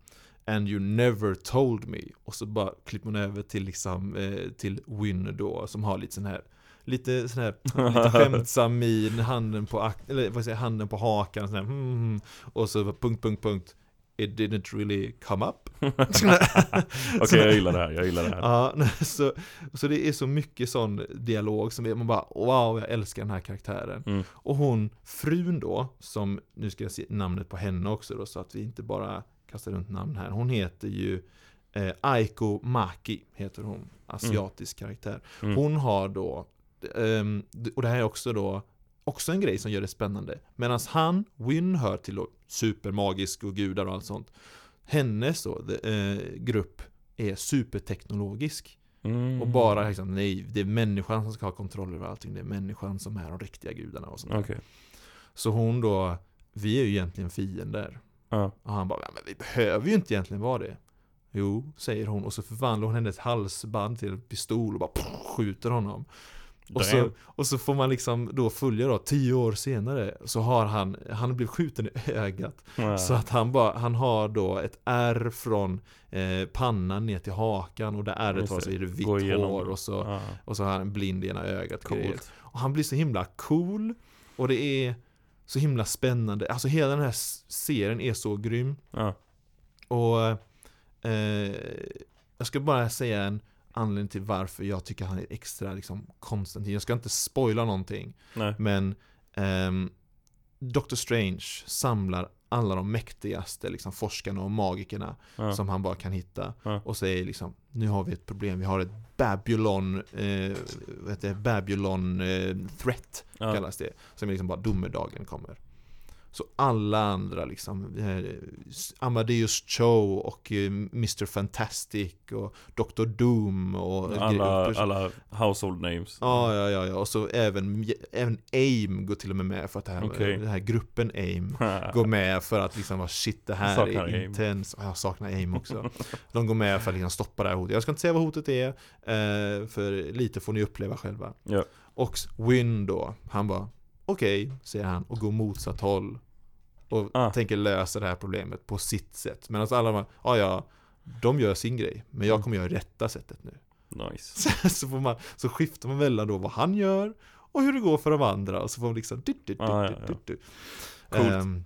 [SPEAKER 2] And you never told me. Och så bara klipper hon över till liksom, eh, till Win då, som har lite sån här, lite sån här Lite skämtsam min, handen på, ak- eller, vad säger, jag, handen på hakan och sådär, mm, mm. Och så punkt, punkt, punkt. It didn't really come up.
[SPEAKER 1] Okej, jag gillar det här. Jag gillar det här.
[SPEAKER 2] ja, så, så det är så mycket sån dialog som är, man bara wow, jag älskar den här karaktären.
[SPEAKER 1] Mm.
[SPEAKER 2] Och hon, frun då, som nu ska jag se namnet på henne också då, så att vi inte bara kastar runt namn här. Hon heter ju eh, Aiko Maki, heter hon. Asiatisk karaktär.
[SPEAKER 1] Mm.
[SPEAKER 2] Hon har då, ehm, d- och det här är också då, också en grej som gör det spännande. Medan han, Win, hör till då supermagisk och gudar och allt sånt. Hennes då, the, eh, grupp är superteknologisk.
[SPEAKER 1] Mm.
[SPEAKER 2] Och bara liksom, nej, det är människan som ska ha kontroll över allting. Det är människan som är de riktiga gudarna och sånt där.
[SPEAKER 1] Okej.
[SPEAKER 2] Så hon då, vi är ju egentligen fiender.
[SPEAKER 1] Ja.
[SPEAKER 2] Och han bara, "Ja, men vi behöver ju inte egentligen vara det. Jo, säger hon och så förvandlar hon hennes halsband till en pistol och bara pff, skjuter honom. Och så, och så får man liksom då följa då, tio år senare så har han, han blev skjuten i ögat.
[SPEAKER 1] Ja.
[SPEAKER 2] Så att han bara, han har då ett R från eh, pannan ner till hakan och där ärret
[SPEAKER 1] Just
[SPEAKER 2] var
[SPEAKER 1] det.
[SPEAKER 2] så är det vitt
[SPEAKER 1] Går igenom.
[SPEAKER 2] hår och så,
[SPEAKER 1] Ja.
[SPEAKER 2] och så har han blind i ena ögat. grejer.
[SPEAKER 1] Coolt.
[SPEAKER 2] Och han blir så himla cool och det är så himla spännande. Alltså hela den här s- serien är så grym.
[SPEAKER 1] Ja.
[SPEAKER 2] Och eh, jag ska bara säga en anledning till varför jag tycker han är extra liksom Konstantin. Jag ska inte spoila någonting.
[SPEAKER 1] Nej.
[SPEAKER 2] Men ehm, Doctor Strange samlar alla de mäktigaste liksom, forskarna och magikerna
[SPEAKER 1] Ja.
[SPEAKER 2] som han bara kan hitta.
[SPEAKER 1] Ja.
[SPEAKER 2] Och säger liksom, nu har vi ett problem, vi har ett Babylon, eh, vad heter det? Babylon eh, threat
[SPEAKER 1] Ja.
[SPEAKER 2] kallas det. Som är liksom bara domedagen kommer. Så alla andra liksom, eh, Amadeus Cho och eh, Mr Fantastic och Dr Doom och
[SPEAKER 1] Alla, alla household names.
[SPEAKER 2] Ja, ja, ja, ja. Och så även, även AIM går till och med med för att det här,
[SPEAKER 1] Okej.
[SPEAKER 2] den här gruppen AIM går med för att liksom, vad shit det här
[SPEAKER 1] Saknar
[SPEAKER 2] är
[SPEAKER 1] AIM.
[SPEAKER 2] intens. Ja, Jag saknar AIM också. De går med för att liksom stoppa det här hotet. Jag ska inte säga vad hotet är, eh, för lite får ni uppleva själva.
[SPEAKER 1] Ja.
[SPEAKER 2] Och Win då, han bara okej, säger han och går motsatt håll. Och
[SPEAKER 1] Ah.
[SPEAKER 2] tänker lösa det här problemet på sitt sätt. Medan alla bara, ja ja, de gör sin grej, men
[SPEAKER 1] Mm.
[SPEAKER 2] jag kommer göra rätta sättet nu.
[SPEAKER 1] Nice.
[SPEAKER 2] Så, så, får man, så skiftar man mellan då vad han gör och hur det går för de andra och så får man liksom du, du, du,
[SPEAKER 1] Ah,
[SPEAKER 2] du,
[SPEAKER 1] ja,
[SPEAKER 2] du,
[SPEAKER 1] ja.
[SPEAKER 2] du.
[SPEAKER 1] Coolt.
[SPEAKER 2] Ehm,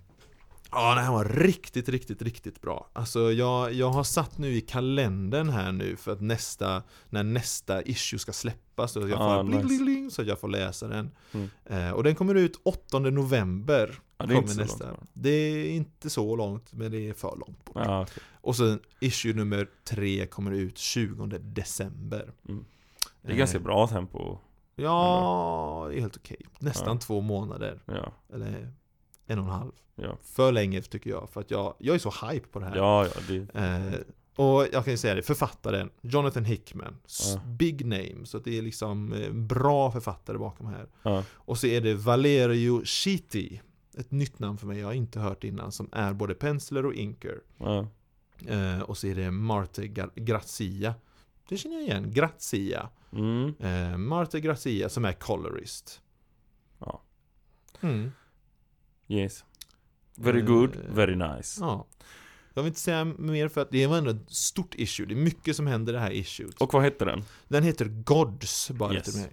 [SPEAKER 2] Ja, det här var riktigt, riktigt, riktigt bra. Alltså jag, jag har satt nu i kalendern här nu för att nästa, när nästa issue ska släppas så att jag får,
[SPEAKER 1] Ah,
[SPEAKER 2] bling,
[SPEAKER 1] nice.
[SPEAKER 2] bling, bling, så att jag får läsa den.
[SPEAKER 1] Mm.
[SPEAKER 2] Eh, och den kommer ut 8 november.
[SPEAKER 1] Ja, det är inte
[SPEAKER 2] kommer
[SPEAKER 1] så
[SPEAKER 2] nästa.
[SPEAKER 1] långt.
[SPEAKER 2] Det är inte så långt, men det är för långt bort.
[SPEAKER 1] Ja, okej.
[SPEAKER 2] Och sen issue nummer 3 kommer ut 20 december.
[SPEAKER 1] Mm. Det är ganska
[SPEAKER 2] Eh,
[SPEAKER 1] bra tempo.
[SPEAKER 2] Ja, det är helt okej. Nästan
[SPEAKER 1] Ja.
[SPEAKER 2] två månader.
[SPEAKER 1] Ja,
[SPEAKER 2] Eller en och en halv.
[SPEAKER 1] ja.
[SPEAKER 2] För länge tycker jag, för att jag, jag är så hype på det här.
[SPEAKER 1] Ja, ja, det...
[SPEAKER 2] Eh, och jag kan ju säga det, författaren, Jonathan Hickman. s-
[SPEAKER 1] Ja.
[SPEAKER 2] Big name, så att det är liksom eh, bra författare bakom här.
[SPEAKER 1] Ja.
[SPEAKER 2] Och så är det Valerio Chiti. Ett nytt namn för mig, jag har inte hört innan, som är både pensler och inker.
[SPEAKER 1] Ja.
[SPEAKER 2] Eh, och så är det Marte Gar- Grazia. Det känner jag igen, Grazia.
[SPEAKER 1] Mm.
[SPEAKER 2] Eh, Marte Grazia som är colorist.
[SPEAKER 1] Ja.
[SPEAKER 2] Mm.
[SPEAKER 1] Yes. Very
[SPEAKER 2] Eh,
[SPEAKER 1] good, very nice.
[SPEAKER 2] Ja. Jag vill inte säga mer för att det var ändå ett stort issue. Det är mycket som händer i det här issuet.
[SPEAKER 1] Och vad hette den?
[SPEAKER 2] Den heter Gods, bara
[SPEAKER 1] Yes.
[SPEAKER 2] lite mer.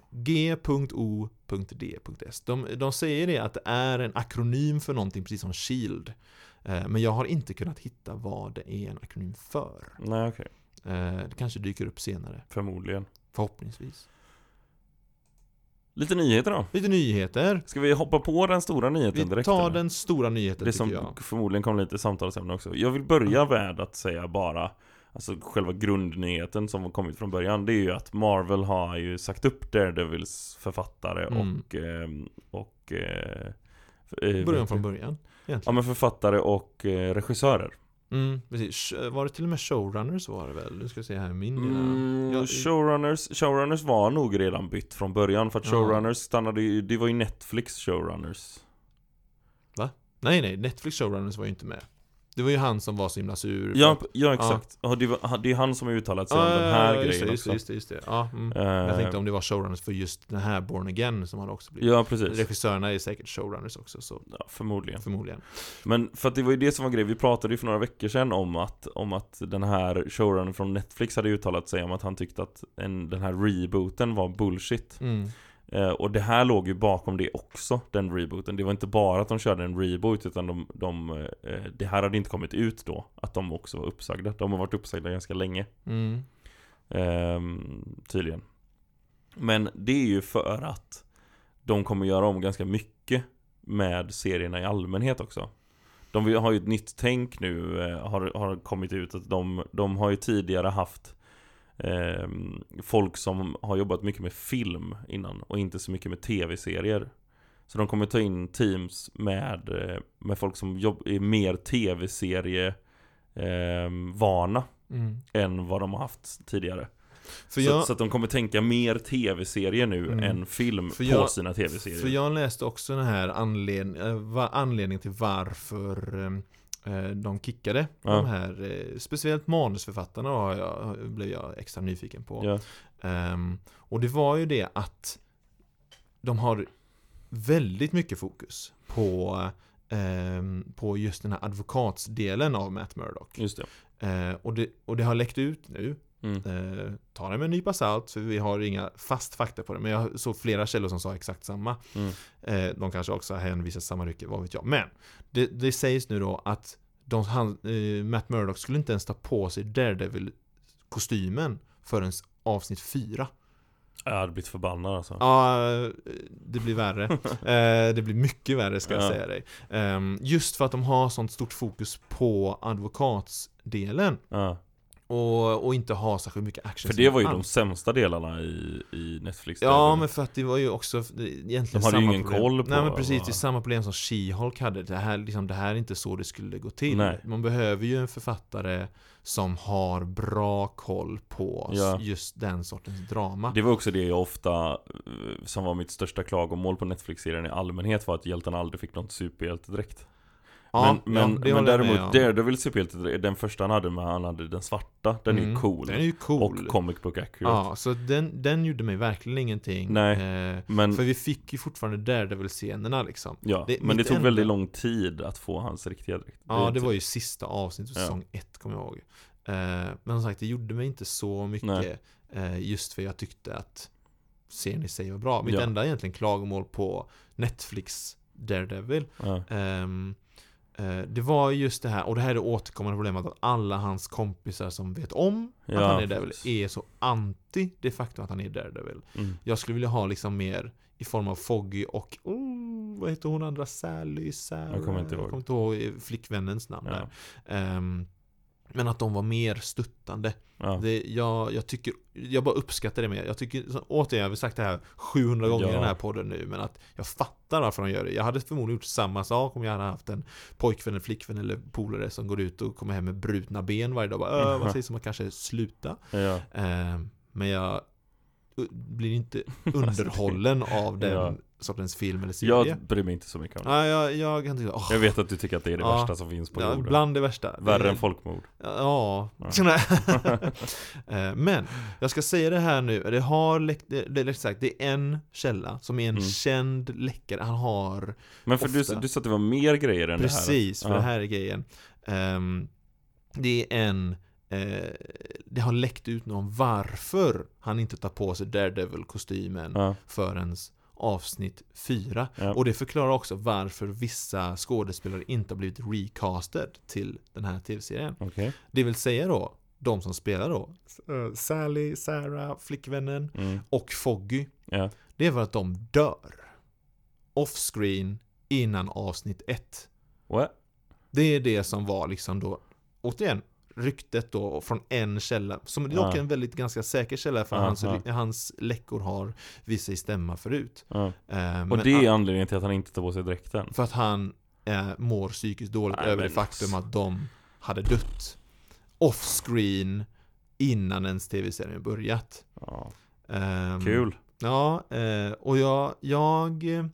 [SPEAKER 2] G.O.D.S. De, de säger det att det är en akronym för någonting precis som Shield. E Eh, Men jag har inte kunnat hitta vad det är en akronym för.
[SPEAKER 1] Nej, okej.
[SPEAKER 2] Eh, Det kanske dyker upp senare,
[SPEAKER 1] Förmodligen.
[SPEAKER 2] förhoppningsvis.
[SPEAKER 1] Lite nyheter då.
[SPEAKER 2] Lite nyheter.
[SPEAKER 1] Ska vi hoppa på den stora nyheten
[SPEAKER 2] Vi
[SPEAKER 1] direkt?
[SPEAKER 2] tar
[SPEAKER 1] eller?
[SPEAKER 2] den stora nyheten
[SPEAKER 1] Det
[SPEAKER 2] tycker
[SPEAKER 1] som
[SPEAKER 2] jag. Mm.
[SPEAKER 1] förmodligen kommer lite samtalsämne också. Jag vill börja med att säga bara Alltså själva grundnyheten som har kommit från början Det är ju att Marvel har ju sagt upp Daredevils författare
[SPEAKER 2] Mm.
[SPEAKER 1] och ehm, Och eh, eh,
[SPEAKER 2] Början från början.
[SPEAKER 1] Ja men författare och eh, regissörer
[SPEAKER 2] Mm, precis. Sh- Var det till och med showrunners var det väl? Nu ska vi se här, min lilla-
[SPEAKER 1] Mm,
[SPEAKER 2] Ja, i-
[SPEAKER 1] showrunners, showrunners var nog redan bytt från början för att
[SPEAKER 2] Ja.
[SPEAKER 1] showrunners stannade ju, det var ju Netflix showrunners
[SPEAKER 2] Nej nej, Netflix showrunners var ju inte med. Det var ju han som var så himla sur.
[SPEAKER 1] Ja, ja exakt, ja. det, var, det är han som har uttalat sig om den här
[SPEAKER 2] just
[SPEAKER 1] grejen
[SPEAKER 2] det, just
[SPEAKER 1] också
[SPEAKER 2] det, just det, just det. Ja, mm.
[SPEAKER 1] Eh,
[SPEAKER 2] Jag tänkte om det var showrunners för just den här Born Again som han också blivit.
[SPEAKER 1] Ja precis,
[SPEAKER 2] Regissörerna är säkert showrunners också, så
[SPEAKER 1] ja, förmodligen
[SPEAKER 2] förmodligen.
[SPEAKER 1] Men för att det var ju det som var grejen, vi pratade ju för några veckor sedan om att, om att den här showrunnern från Netflix hade uttalat sig om att han tyckte att en, den här rebooten var bullshit.
[SPEAKER 2] Mm.
[SPEAKER 1] Eh, och det här låg ju bakom det också, den rebooten. Det var inte bara att de körde en reboot, utan de, de, eh, det här hade inte kommit ut då, att de också var uppsagda. De har varit uppsagda ganska länge.
[SPEAKER 2] Mm.
[SPEAKER 1] Ehm, tydligen. Men det är ju för att de kommer göra om ganska mycket med serierna i allmänhet också. De vill- har ju ett nytt tänk nu, eh, har, har kommit ut att de, de har ju tidigare haft ehm, folk som har jobbat mycket med film innan och inte så mycket med tv-serier. Så de kommer ta in teams med, eh, med folk som jobb, är mer tv-serie-vana
[SPEAKER 2] Mm.
[SPEAKER 1] än vad de har haft tidigare. så,
[SPEAKER 2] För, jag,
[SPEAKER 1] så att de kommer tänka mer tv-serier nu
[SPEAKER 2] Mm.
[SPEAKER 1] än film
[SPEAKER 2] För
[SPEAKER 1] på
[SPEAKER 2] jag-
[SPEAKER 1] sina tv-serier.
[SPEAKER 2] för jag läste också den här anled, eh, va- anledningen till varför eh, eh, de kickade
[SPEAKER 1] Ja.
[SPEAKER 2] de här, eh, speciellt manusförfattarna har jag, blev jag extra nyfiken på.
[SPEAKER 1] ja.
[SPEAKER 2] Ehm, och det var ju det att de har väldigt mycket fokus på, ehm, på just den här advokatsdelen av Matt Murdock.
[SPEAKER 1] Just det.
[SPEAKER 2] Eh, och, det, och det har läckt ut nu.
[SPEAKER 1] Mm.
[SPEAKER 2] Eh, ta det med en nypa salt, för vi har inga fast fakta på det. Men jag såg flera källor som sa exakt samma.
[SPEAKER 1] Mm.
[SPEAKER 2] Eh, de kanske också hänvisar till samma rycke, vad vet jag. Men det, det sägs nu då att de, han, eh, Matt Murdock skulle inte ens ta på sig Daredevil-kostymen förrän avsnitt 4.
[SPEAKER 1] Jag hade blivit förbannad alltså.
[SPEAKER 2] Ja, eh, det blir värre. Eh, det blir mycket värre ska jag
[SPEAKER 1] Ja.
[SPEAKER 2] säga dig. Ehm, just för att de har sånt stort fokus på advokatsdelen.
[SPEAKER 1] Ja.
[SPEAKER 2] Och, och inte ha särskilt mycket action. Ah.
[SPEAKER 1] För
[SPEAKER 2] som
[SPEAKER 1] det var ju de
[SPEAKER 2] alls.
[SPEAKER 1] sämsta delarna i, i Netflix
[SPEAKER 2] Ja, men för att det var ju också det är egentligen
[SPEAKER 1] De hade ju
[SPEAKER 2] samma
[SPEAKER 1] ingen
[SPEAKER 2] problem.
[SPEAKER 1] koll på
[SPEAKER 2] Nej men
[SPEAKER 1] vad-
[SPEAKER 2] precis, det är samma problem som She-Hulk hade. Det här, liksom, det här är inte så det skulle gå till.
[SPEAKER 1] Nej.
[SPEAKER 2] Man behöver ju en författare som har bra koll på
[SPEAKER 1] Ja.
[SPEAKER 2] just den sortens drama.
[SPEAKER 1] Det var också det jag ofta, eh, som var mitt största klagomål på Netflix-serien i allmänhet var att hjältarna aldrig fick någon superhjältedräkt
[SPEAKER 2] Ja,
[SPEAKER 1] Men, men,
[SPEAKER 2] ja, det
[SPEAKER 1] men
[SPEAKER 2] håller jag med
[SPEAKER 1] däremot
[SPEAKER 2] om.
[SPEAKER 1] Daredevil superhjältedräkt, den första han hade med, han hade den svarta, den är ju
[SPEAKER 2] Mm.
[SPEAKER 1] cool,
[SPEAKER 2] Den är ju cool.
[SPEAKER 1] Och comic book accurate
[SPEAKER 2] Ja, så den, den gjorde mig verkligen ingenting.
[SPEAKER 1] Nej.
[SPEAKER 2] Eh,
[SPEAKER 1] Men,
[SPEAKER 2] för vi fick ju fortfarande Daredevil-scenerna liksom.
[SPEAKER 1] ja,
[SPEAKER 2] det-
[SPEAKER 1] men det
[SPEAKER 2] mitt
[SPEAKER 1] tog
[SPEAKER 2] enda-
[SPEAKER 1] väldigt lång tid att få hans riktiga dräkt
[SPEAKER 2] Ja, det
[SPEAKER 1] inte-
[SPEAKER 2] var ju sista avsnittet av
[SPEAKER 1] typ- Ja.
[SPEAKER 2] säsong ett, kommer jag ihåg. Eh, men som sagt, det gjorde mig inte så mycket. Eh, just för jag tyckte att serien i sig var bra. Mitt
[SPEAKER 1] Ja.
[SPEAKER 2] enda egentligen klagomål på Netflix Daredevil
[SPEAKER 1] ja.
[SPEAKER 2] Ehm, eh, Det var just det här, och det här är det återkommande problemet att alla hans kompisar som vet om att
[SPEAKER 1] Ja,
[SPEAKER 2] han är Daredevil
[SPEAKER 1] precis.
[SPEAKER 2] är så anti det faktum att han är Daredevil.
[SPEAKER 1] Mm.
[SPEAKER 2] Jag skulle vilja ha liksom mer i form av Foggy och oh, vad heter hon andra? Sally, Sarah?
[SPEAKER 1] Jag kommer inte ihåg.
[SPEAKER 2] Jag kommer inte ihåg eh, flickvännens namn
[SPEAKER 1] Ja.
[SPEAKER 2] där. Ehm, men att de var mer stöttande.
[SPEAKER 1] Ja.
[SPEAKER 2] Det, jag, jag tycker, jag bara uppskattar det mer. Jag tycker, så- återigen, jag har sagt det här 700 gånger i
[SPEAKER 1] Ja.
[SPEAKER 2] den här podden nu, men att jag fattar varför de gör det. Jag hade förmodligen gjort samma sak om jag hade haft en pojkvän, en flickvän eller polare som går ut och kommer hem med brutna ben varje dag. Bara, "Äh, vad sägs om att kanske sluta?
[SPEAKER 1] Ja.
[SPEAKER 2] Eh, men jag u- blir inte underhållen av den
[SPEAKER 1] Alltså, Ja.
[SPEAKER 2] sortens film eller serie.
[SPEAKER 1] Jag bryr mig inte så mycket om det
[SPEAKER 2] Ja, jag, jag kan tycka, åh,
[SPEAKER 1] Jag vet att du tycker att det är det
[SPEAKER 2] Ja.
[SPEAKER 1] värsta som finns på
[SPEAKER 2] ja,
[SPEAKER 1] jorden
[SPEAKER 2] bland det värsta.
[SPEAKER 1] Värre
[SPEAKER 2] Det-
[SPEAKER 1] än folkmord
[SPEAKER 2] Ja.
[SPEAKER 1] Ja.
[SPEAKER 2] Sådana- Eh, Men, jag ska säga det här nu. Det har läckt, det, det, är sagt, det är en källa som är en
[SPEAKER 1] Mm.
[SPEAKER 2] känd läckare. Han har,
[SPEAKER 1] Men för du,
[SPEAKER 2] Ofta.
[SPEAKER 1] du sa att det var mer grejer än det här
[SPEAKER 2] precis, för
[SPEAKER 1] Ja.
[SPEAKER 2] det här är grejen. Ehm, det är en, eh, det har läckt ut någon varför han inte tar på sig Daredevil-kostymen
[SPEAKER 1] Ja,
[SPEAKER 2] förrän avsnitt 4.
[SPEAKER 1] ja.
[SPEAKER 2] Och det förklarar också varför vissa skådespelare inte har blivit recasted till den här tv-serien.
[SPEAKER 1] Okej
[SPEAKER 2] Det vill säga då, de som spelar då, eh, Sally, Sarah, flickvännen
[SPEAKER 1] mm.
[SPEAKER 2] och Foggy.
[SPEAKER 1] Ja.
[SPEAKER 2] Det är för att de dör. Offscreen innan avsnitt ett.
[SPEAKER 1] What?
[SPEAKER 2] Det är det som var liksom då, återigen, ryktet då från en källa, som dock är
[SPEAKER 1] Ja.
[SPEAKER 2] en väldigt ganska säker källa för
[SPEAKER 1] Ja,
[SPEAKER 2] hans,
[SPEAKER 1] ja.
[SPEAKER 2] hans läckor har visat sig stämma förut.
[SPEAKER 1] Ja.
[SPEAKER 2] Eh,
[SPEAKER 1] Och
[SPEAKER 2] men
[SPEAKER 1] det är
[SPEAKER 2] an-
[SPEAKER 1] anledningen till att han inte tar på sig dräkten
[SPEAKER 2] För att han eh, mår psykiskt dåligt
[SPEAKER 1] Nej,
[SPEAKER 2] över det
[SPEAKER 1] men
[SPEAKER 2] faktum
[SPEAKER 1] alltså.
[SPEAKER 2] att de hade dött offscreen innan ens tv-serien börjat.
[SPEAKER 1] ja.
[SPEAKER 2] Ehm,
[SPEAKER 1] Kul
[SPEAKER 2] Ja, eh, och jag, jag... eh,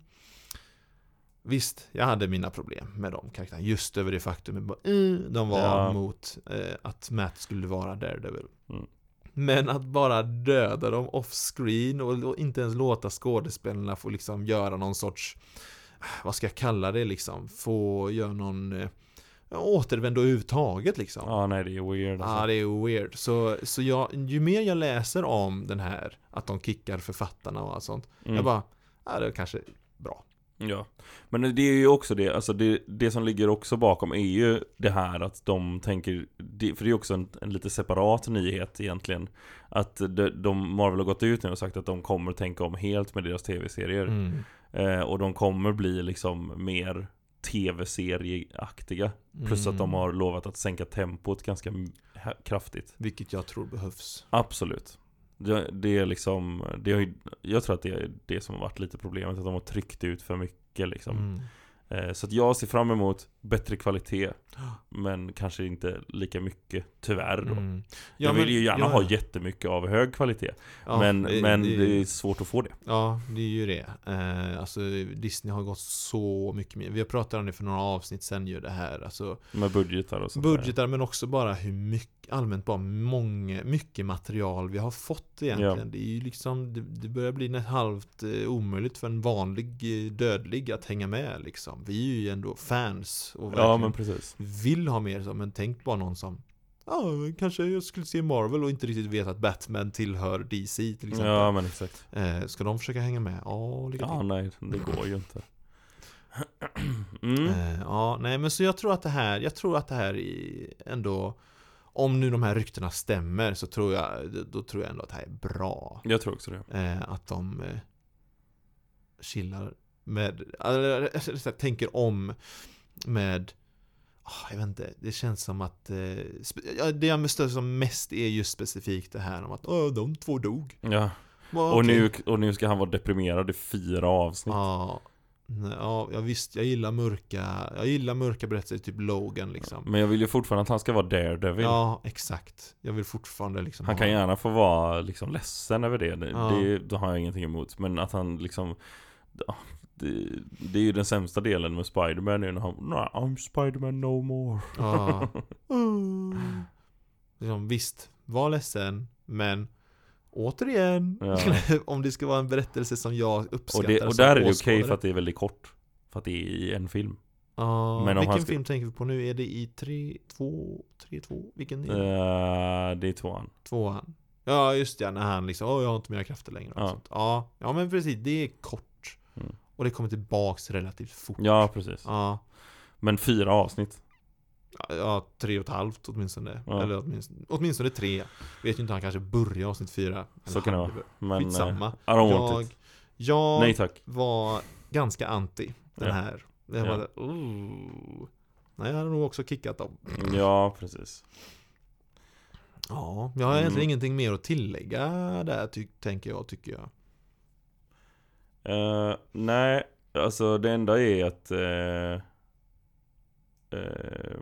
[SPEAKER 2] Visst, jag hade mina problem med de karaktärerna. Just över det faktumet. bara, eh, De var
[SPEAKER 1] Ja.
[SPEAKER 2] mot eh, att Matt skulle vara Daredevil.
[SPEAKER 1] Mm.
[SPEAKER 2] Men att bara döda dem off-screen och, och inte ens låta skådespelarna få liksom göra någon sorts... eh, Vad ska jag kalla det liksom? Få göra någon... eh, Återvändo överhuvudtaget liksom.
[SPEAKER 1] Ja, nej det är weird
[SPEAKER 2] Ja,
[SPEAKER 1] alltså.
[SPEAKER 2] det är weird. Så, så jag, ju mer jag läser om den här, att de kickar författarna och allt sånt.
[SPEAKER 1] mm.
[SPEAKER 2] Jag bara, ja det är kanske bra.
[SPEAKER 1] Ja. Men det är ju också det, alltså det, det som ligger också bakom är ju det här att de tänker, det, för det är också en, en lite separat nyhet egentligen. Att de, de, Marvel har gått ut nu och sagt att de kommer tänka om helt med deras tv-serier.
[SPEAKER 2] Mm.
[SPEAKER 1] Eh, och de kommer bli liksom mer tv-serieaktiga. Plus att de
[SPEAKER 2] Mm.
[SPEAKER 1] har lovat att sänka tempot ganska m- hä- kraftigt.
[SPEAKER 2] Vilket jag tror behövs.
[SPEAKER 1] Absolut. Det, det är liksom, det har ju, jag tror att det är det som har varit lite problemet, att de har tryckt ut för mycket liksom.
[SPEAKER 2] Mm.
[SPEAKER 1] Eh, Så att jag ser fram emot bättre kvalitet. Men kanske inte lika mycket, tyvärr då.
[SPEAKER 2] Mm.
[SPEAKER 1] jag
[SPEAKER 2] men-
[SPEAKER 1] vill ju gärna
[SPEAKER 2] ja,
[SPEAKER 1] ha
[SPEAKER 2] ja.
[SPEAKER 1] jättemycket av hög kvalitet.
[SPEAKER 2] Ja,
[SPEAKER 1] men
[SPEAKER 2] det-
[SPEAKER 1] men
[SPEAKER 2] det-
[SPEAKER 1] det är svårt att få det.
[SPEAKER 2] Ja, det är ju det. Eh, alltså Disney har gått så mycket mer. Vi har pratat om det för några avsnitt sen ju det här. Alltså
[SPEAKER 1] Med budgetar och sånt där.
[SPEAKER 2] budgetar men också bara hur mycket, allmänt bara många, mycket material vi har fått egentligen.
[SPEAKER 1] Ja.
[SPEAKER 2] Det är ju liksom, det, det börjar bli nä- halvt eh, omöjligt för en vanlig eh, dödlig att hänga med liksom. Vi är ju ändå fans och verkligen
[SPEAKER 1] Ja men precis.
[SPEAKER 2] vill ha mer så, men tänk bara någon som Ja, kanske jag skulle se Marvel och inte riktigt vet att Batman tillhör DC till exempel.
[SPEAKER 1] Ja men exakt.
[SPEAKER 2] Eh, ska de försöka hänga med? Ja, lycka till.
[SPEAKER 1] Ja nej, det går ju inte. Mm.
[SPEAKER 2] Eh, ja, nej men så jag tror att det här, jag tror att det här i- ändå Om nu de här ryktena stämmer så tror jag, då tror jag ändå att det här är bra.
[SPEAKER 1] Jag tror också det.
[SPEAKER 2] Eh, att de eh, chillar med, eller eller så här, tänker om med ah, jag vet inte, det känns som att eh, spe- ja, det jag stör som mest är just specifikt det här om att oh, de två dog.
[SPEAKER 1] Ja.
[SPEAKER 2] Vad
[SPEAKER 1] Och,
[SPEAKER 2] okej.
[SPEAKER 1] nu, och nu ska han vara deprimerad i fyra avsnitt.
[SPEAKER 2] Ja, nej, ja, ja, visst, jag gillar mörka, jag gillar mörka berättelser, typ Logan liksom.
[SPEAKER 1] Men jag vill ju fortfarande att han ska vara daredevil.
[SPEAKER 2] Ja, exakt. Jag vill fortfarande liksom
[SPEAKER 1] Han
[SPEAKER 2] ha-
[SPEAKER 1] kan gärna få vara liksom ledsen över det. Det,
[SPEAKER 2] Ja.
[SPEAKER 1] det, det har jag ingenting emot. Men att han liksom ja, det, det är ju den sämsta delen med Spiderman är när han "Nah, I'm Spiderman no more.
[SPEAKER 2] Ja. Mm. liksom, visst, var ledsen, men återigen.
[SPEAKER 1] Ja.
[SPEAKER 2] om det ska vara en berättelse som jag uppskattar
[SPEAKER 1] Och, det, och
[SPEAKER 2] som
[SPEAKER 1] där är det okej
[SPEAKER 2] åskådare.
[SPEAKER 1] för att det är väldigt kort. För att det är i en film.
[SPEAKER 2] Ja,
[SPEAKER 1] Men om
[SPEAKER 2] vilken
[SPEAKER 1] han ska-
[SPEAKER 2] film tänker vi på nu? Är det i tre två tre två Vilken är det?
[SPEAKER 1] Eh, det är tvåan.
[SPEAKER 2] Tvåan? Ja, just det. När han liksom, åh jag har inte mina krafter längre. och
[SPEAKER 1] Ja.
[SPEAKER 2] sånt. Ja. ja, men precis. Det är kort.
[SPEAKER 1] Mm.
[SPEAKER 2] Och det kommer tillbaks relativt fort.
[SPEAKER 1] Ja, precis.
[SPEAKER 2] Ja.
[SPEAKER 1] Men fyra avsnitt.
[SPEAKER 2] Ja, tre och ett halvt åtminstone.
[SPEAKER 1] Ja.
[SPEAKER 2] Eller åtminstone, åtminstone tre. Vet ju inte, han kanske börjar avsnitt fyra. Eller
[SPEAKER 1] Så kan det
[SPEAKER 2] han-
[SPEAKER 1] vara. Men, eh,
[SPEAKER 2] Skitsamma.
[SPEAKER 1] I don't want
[SPEAKER 2] Jag,
[SPEAKER 1] it.
[SPEAKER 2] jag
[SPEAKER 1] Nej tack.
[SPEAKER 2] var ganska anti den
[SPEAKER 1] Ja.
[SPEAKER 2] här. Jag
[SPEAKER 1] Ja.
[SPEAKER 2] bara, "Ooh." Nej, jag hade nog också kickat dem.
[SPEAKER 1] Ja, precis.
[SPEAKER 2] Ja, jag har egentligen
[SPEAKER 1] Mm.
[SPEAKER 2] ingenting mer att tillägga där, ty- tänker jag, tycker jag.
[SPEAKER 1] Eh, nej, alltså det enda är att... eh, eh,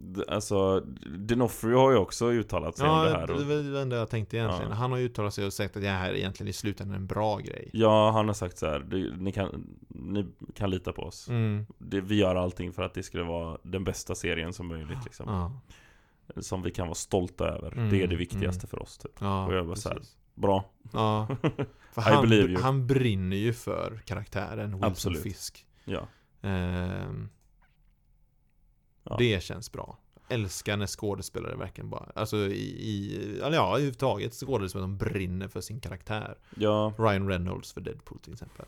[SPEAKER 1] d- alltså, Dinofrio har ju också uttalat sig om det
[SPEAKER 2] Ja,
[SPEAKER 1] här. Och,
[SPEAKER 2] det var det enda jag tänkte egentligen.
[SPEAKER 1] Ja.
[SPEAKER 2] Han har ju uttalat sig och sagt att det här är egentligen i slutändan en bra grej.
[SPEAKER 1] ja, han har sagt så här. "Du, Ni kan, ni kan lita på oss.
[SPEAKER 2] Mm.
[SPEAKER 1] Det, vi gör allting för att det skulle vara den bästa serien som möjligt. Liksom,
[SPEAKER 2] Ja,
[SPEAKER 1] Som vi kan vara stolta över.
[SPEAKER 2] Mm,
[SPEAKER 1] det är det viktigaste för oss. Typ.
[SPEAKER 2] ja,
[SPEAKER 1] Och jag bara så här,
[SPEAKER 2] precis.
[SPEAKER 1] Bra.
[SPEAKER 2] Ja. För
[SPEAKER 1] I
[SPEAKER 2] han,
[SPEAKER 1] believe you.
[SPEAKER 2] han brinner ju för karaktären Wilson
[SPEAKER 1] Absolut.
[SPEAKER 2] Fisk.
[SPEAKER 1] Ja.
[SPEAKER 2] Ehm,
[SPEAKER 1] Ja.
[SPEAKER 2] Det känns bra. Älskar när skådespelare verkligen bara, alltså i, i eller ja, överhuvudtaget skådespelare som brinner för sin karaktär.
[SPEAKER 1] Ja.
[SPEAKER 2] Ryan Reynolds för Deadpool till exempel.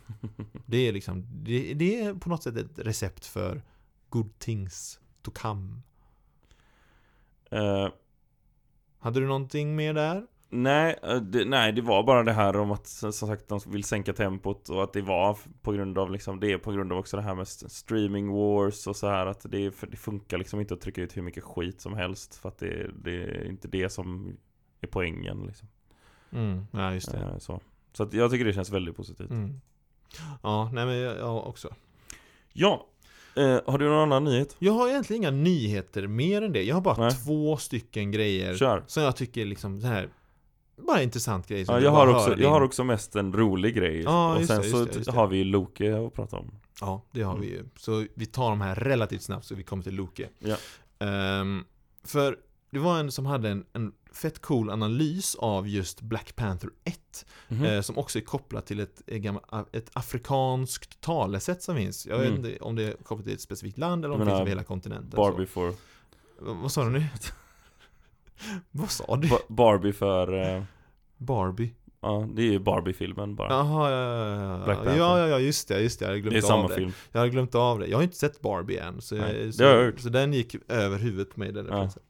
[SPEAKER 2] Det är liksom, det, det är på något sätt ett recept för good things to come.
[SPEAKER 1] Eh,
[SPEAKER 2] Hade du någonting mer där?
[SPEAKER 1] Nej, eh, det, nej, det var bara det här om att som sagt de vill sänka tempot och att det var f- på grund av liksom det är på grund av också det här med st- streaming wars och så här att det, är för det funkar liksom inte att trycka ut hur mycket skit som helst för att det, det är inte det som är poängen liksom.
[SPEAKER 2] Mm, ja, just det.
[SPEAKER 1] Eh, Så, så att jag tycker det känns väldigt positivt.
[SPEAKER 2] Mm. Ja, nej men jag, jag också.
[SPEAKER 1] Ja, eh, har du någon annan nyhet?
[SPEAKER 2] Jag har egentligen inga nyheter mer än det. Jag har bara
[SPEAKER 1] Nej.
[SPEAKER 2] två stycken grejer
[SPEAKER 1] Kör.
[SPEAKER 2] som jag tycker är liksom så här bara intressant grej. som
[SPEAKER 1] Ja,
[SPEAKER 2] du
[SPEAKER 1] jag,
[SPEAKER 2] bara
[SPEAKER 1] har
[SPEAKER 2] hör
[SPEAKER 1] också,
[SPEAKER 2] din-
[SPEAKER 1] jag har också mest en rolig grej.
[SPEAKER 2] Ja,
[SPEAKER 1] och
[SPEAKER 2] just
[SPEAKER 1] sen
[SPEAKER 2] det,
[SPEAKER 1] så
[SPEAKER 2] just det, just det.
[SPEAKER 1] har vi Loke att prata om.
[SPEAKER 2] Ja, det har vi ju. Så vi tar de här relativt snabbt så vi kommer till Loke.
[SPEAKER 1] Mm. Ja.
[SPEAKER 2] Ehm, för det var en som hade en, en fett cool analys av just Black Panther 1.
[SPEAKER 1] Mhm.
[SPEAKER 2] eh, som också är kopplat till ett, eh, gamla- ett afrikanskt talesätt som finns. Jag vet
[SPEAKER 1] Mm.
[SPEAKER 2] inte om det är kopplat till ett specifikt land eller om
[SPEAKER 1] Jag
[SPEAKER 2] det finns
[SPEAKER 1] menar,
[SPEAKER 2] över hela kontinenten. så.
[SPEAKER 1] Barbie för,
[SPEAKER 2] V- Vad sa du nu? Vad sa du?
[SPEAKER 1] ba- Barbie för eh,
[SPEAKER 2] Barbie?
[SPEAKER 1] Ja, det är ju Barbie-filmen bara.
[SPEAKER 2] Jaha, ja,
[SPEAKER 1] Black
[SPEAKER 2] ja, ja,
[SPEAKER 1] Panther.
[SPEAKER 2] ja, ja, ja, just det, just det, jag hade glömt
[SPEAKER 1] det är
[SPEAKER 2] av
[SPEAKER 1] samma
[SPEAKER 2] det.
[SPEAKER 1] film.
[SPEAKER 2] Jag hade glömt av det. Jag har inte sett Barbie än, så,
[SPEAKER 1] Nej,
[SPEAKER 2] så,
[SPEAKER 1] det har jag hört.
[SPEAKER 2] så den gick över huvudet på mig den
[SPEAKER 1] Ja.
[SPEAKER 2] referensen.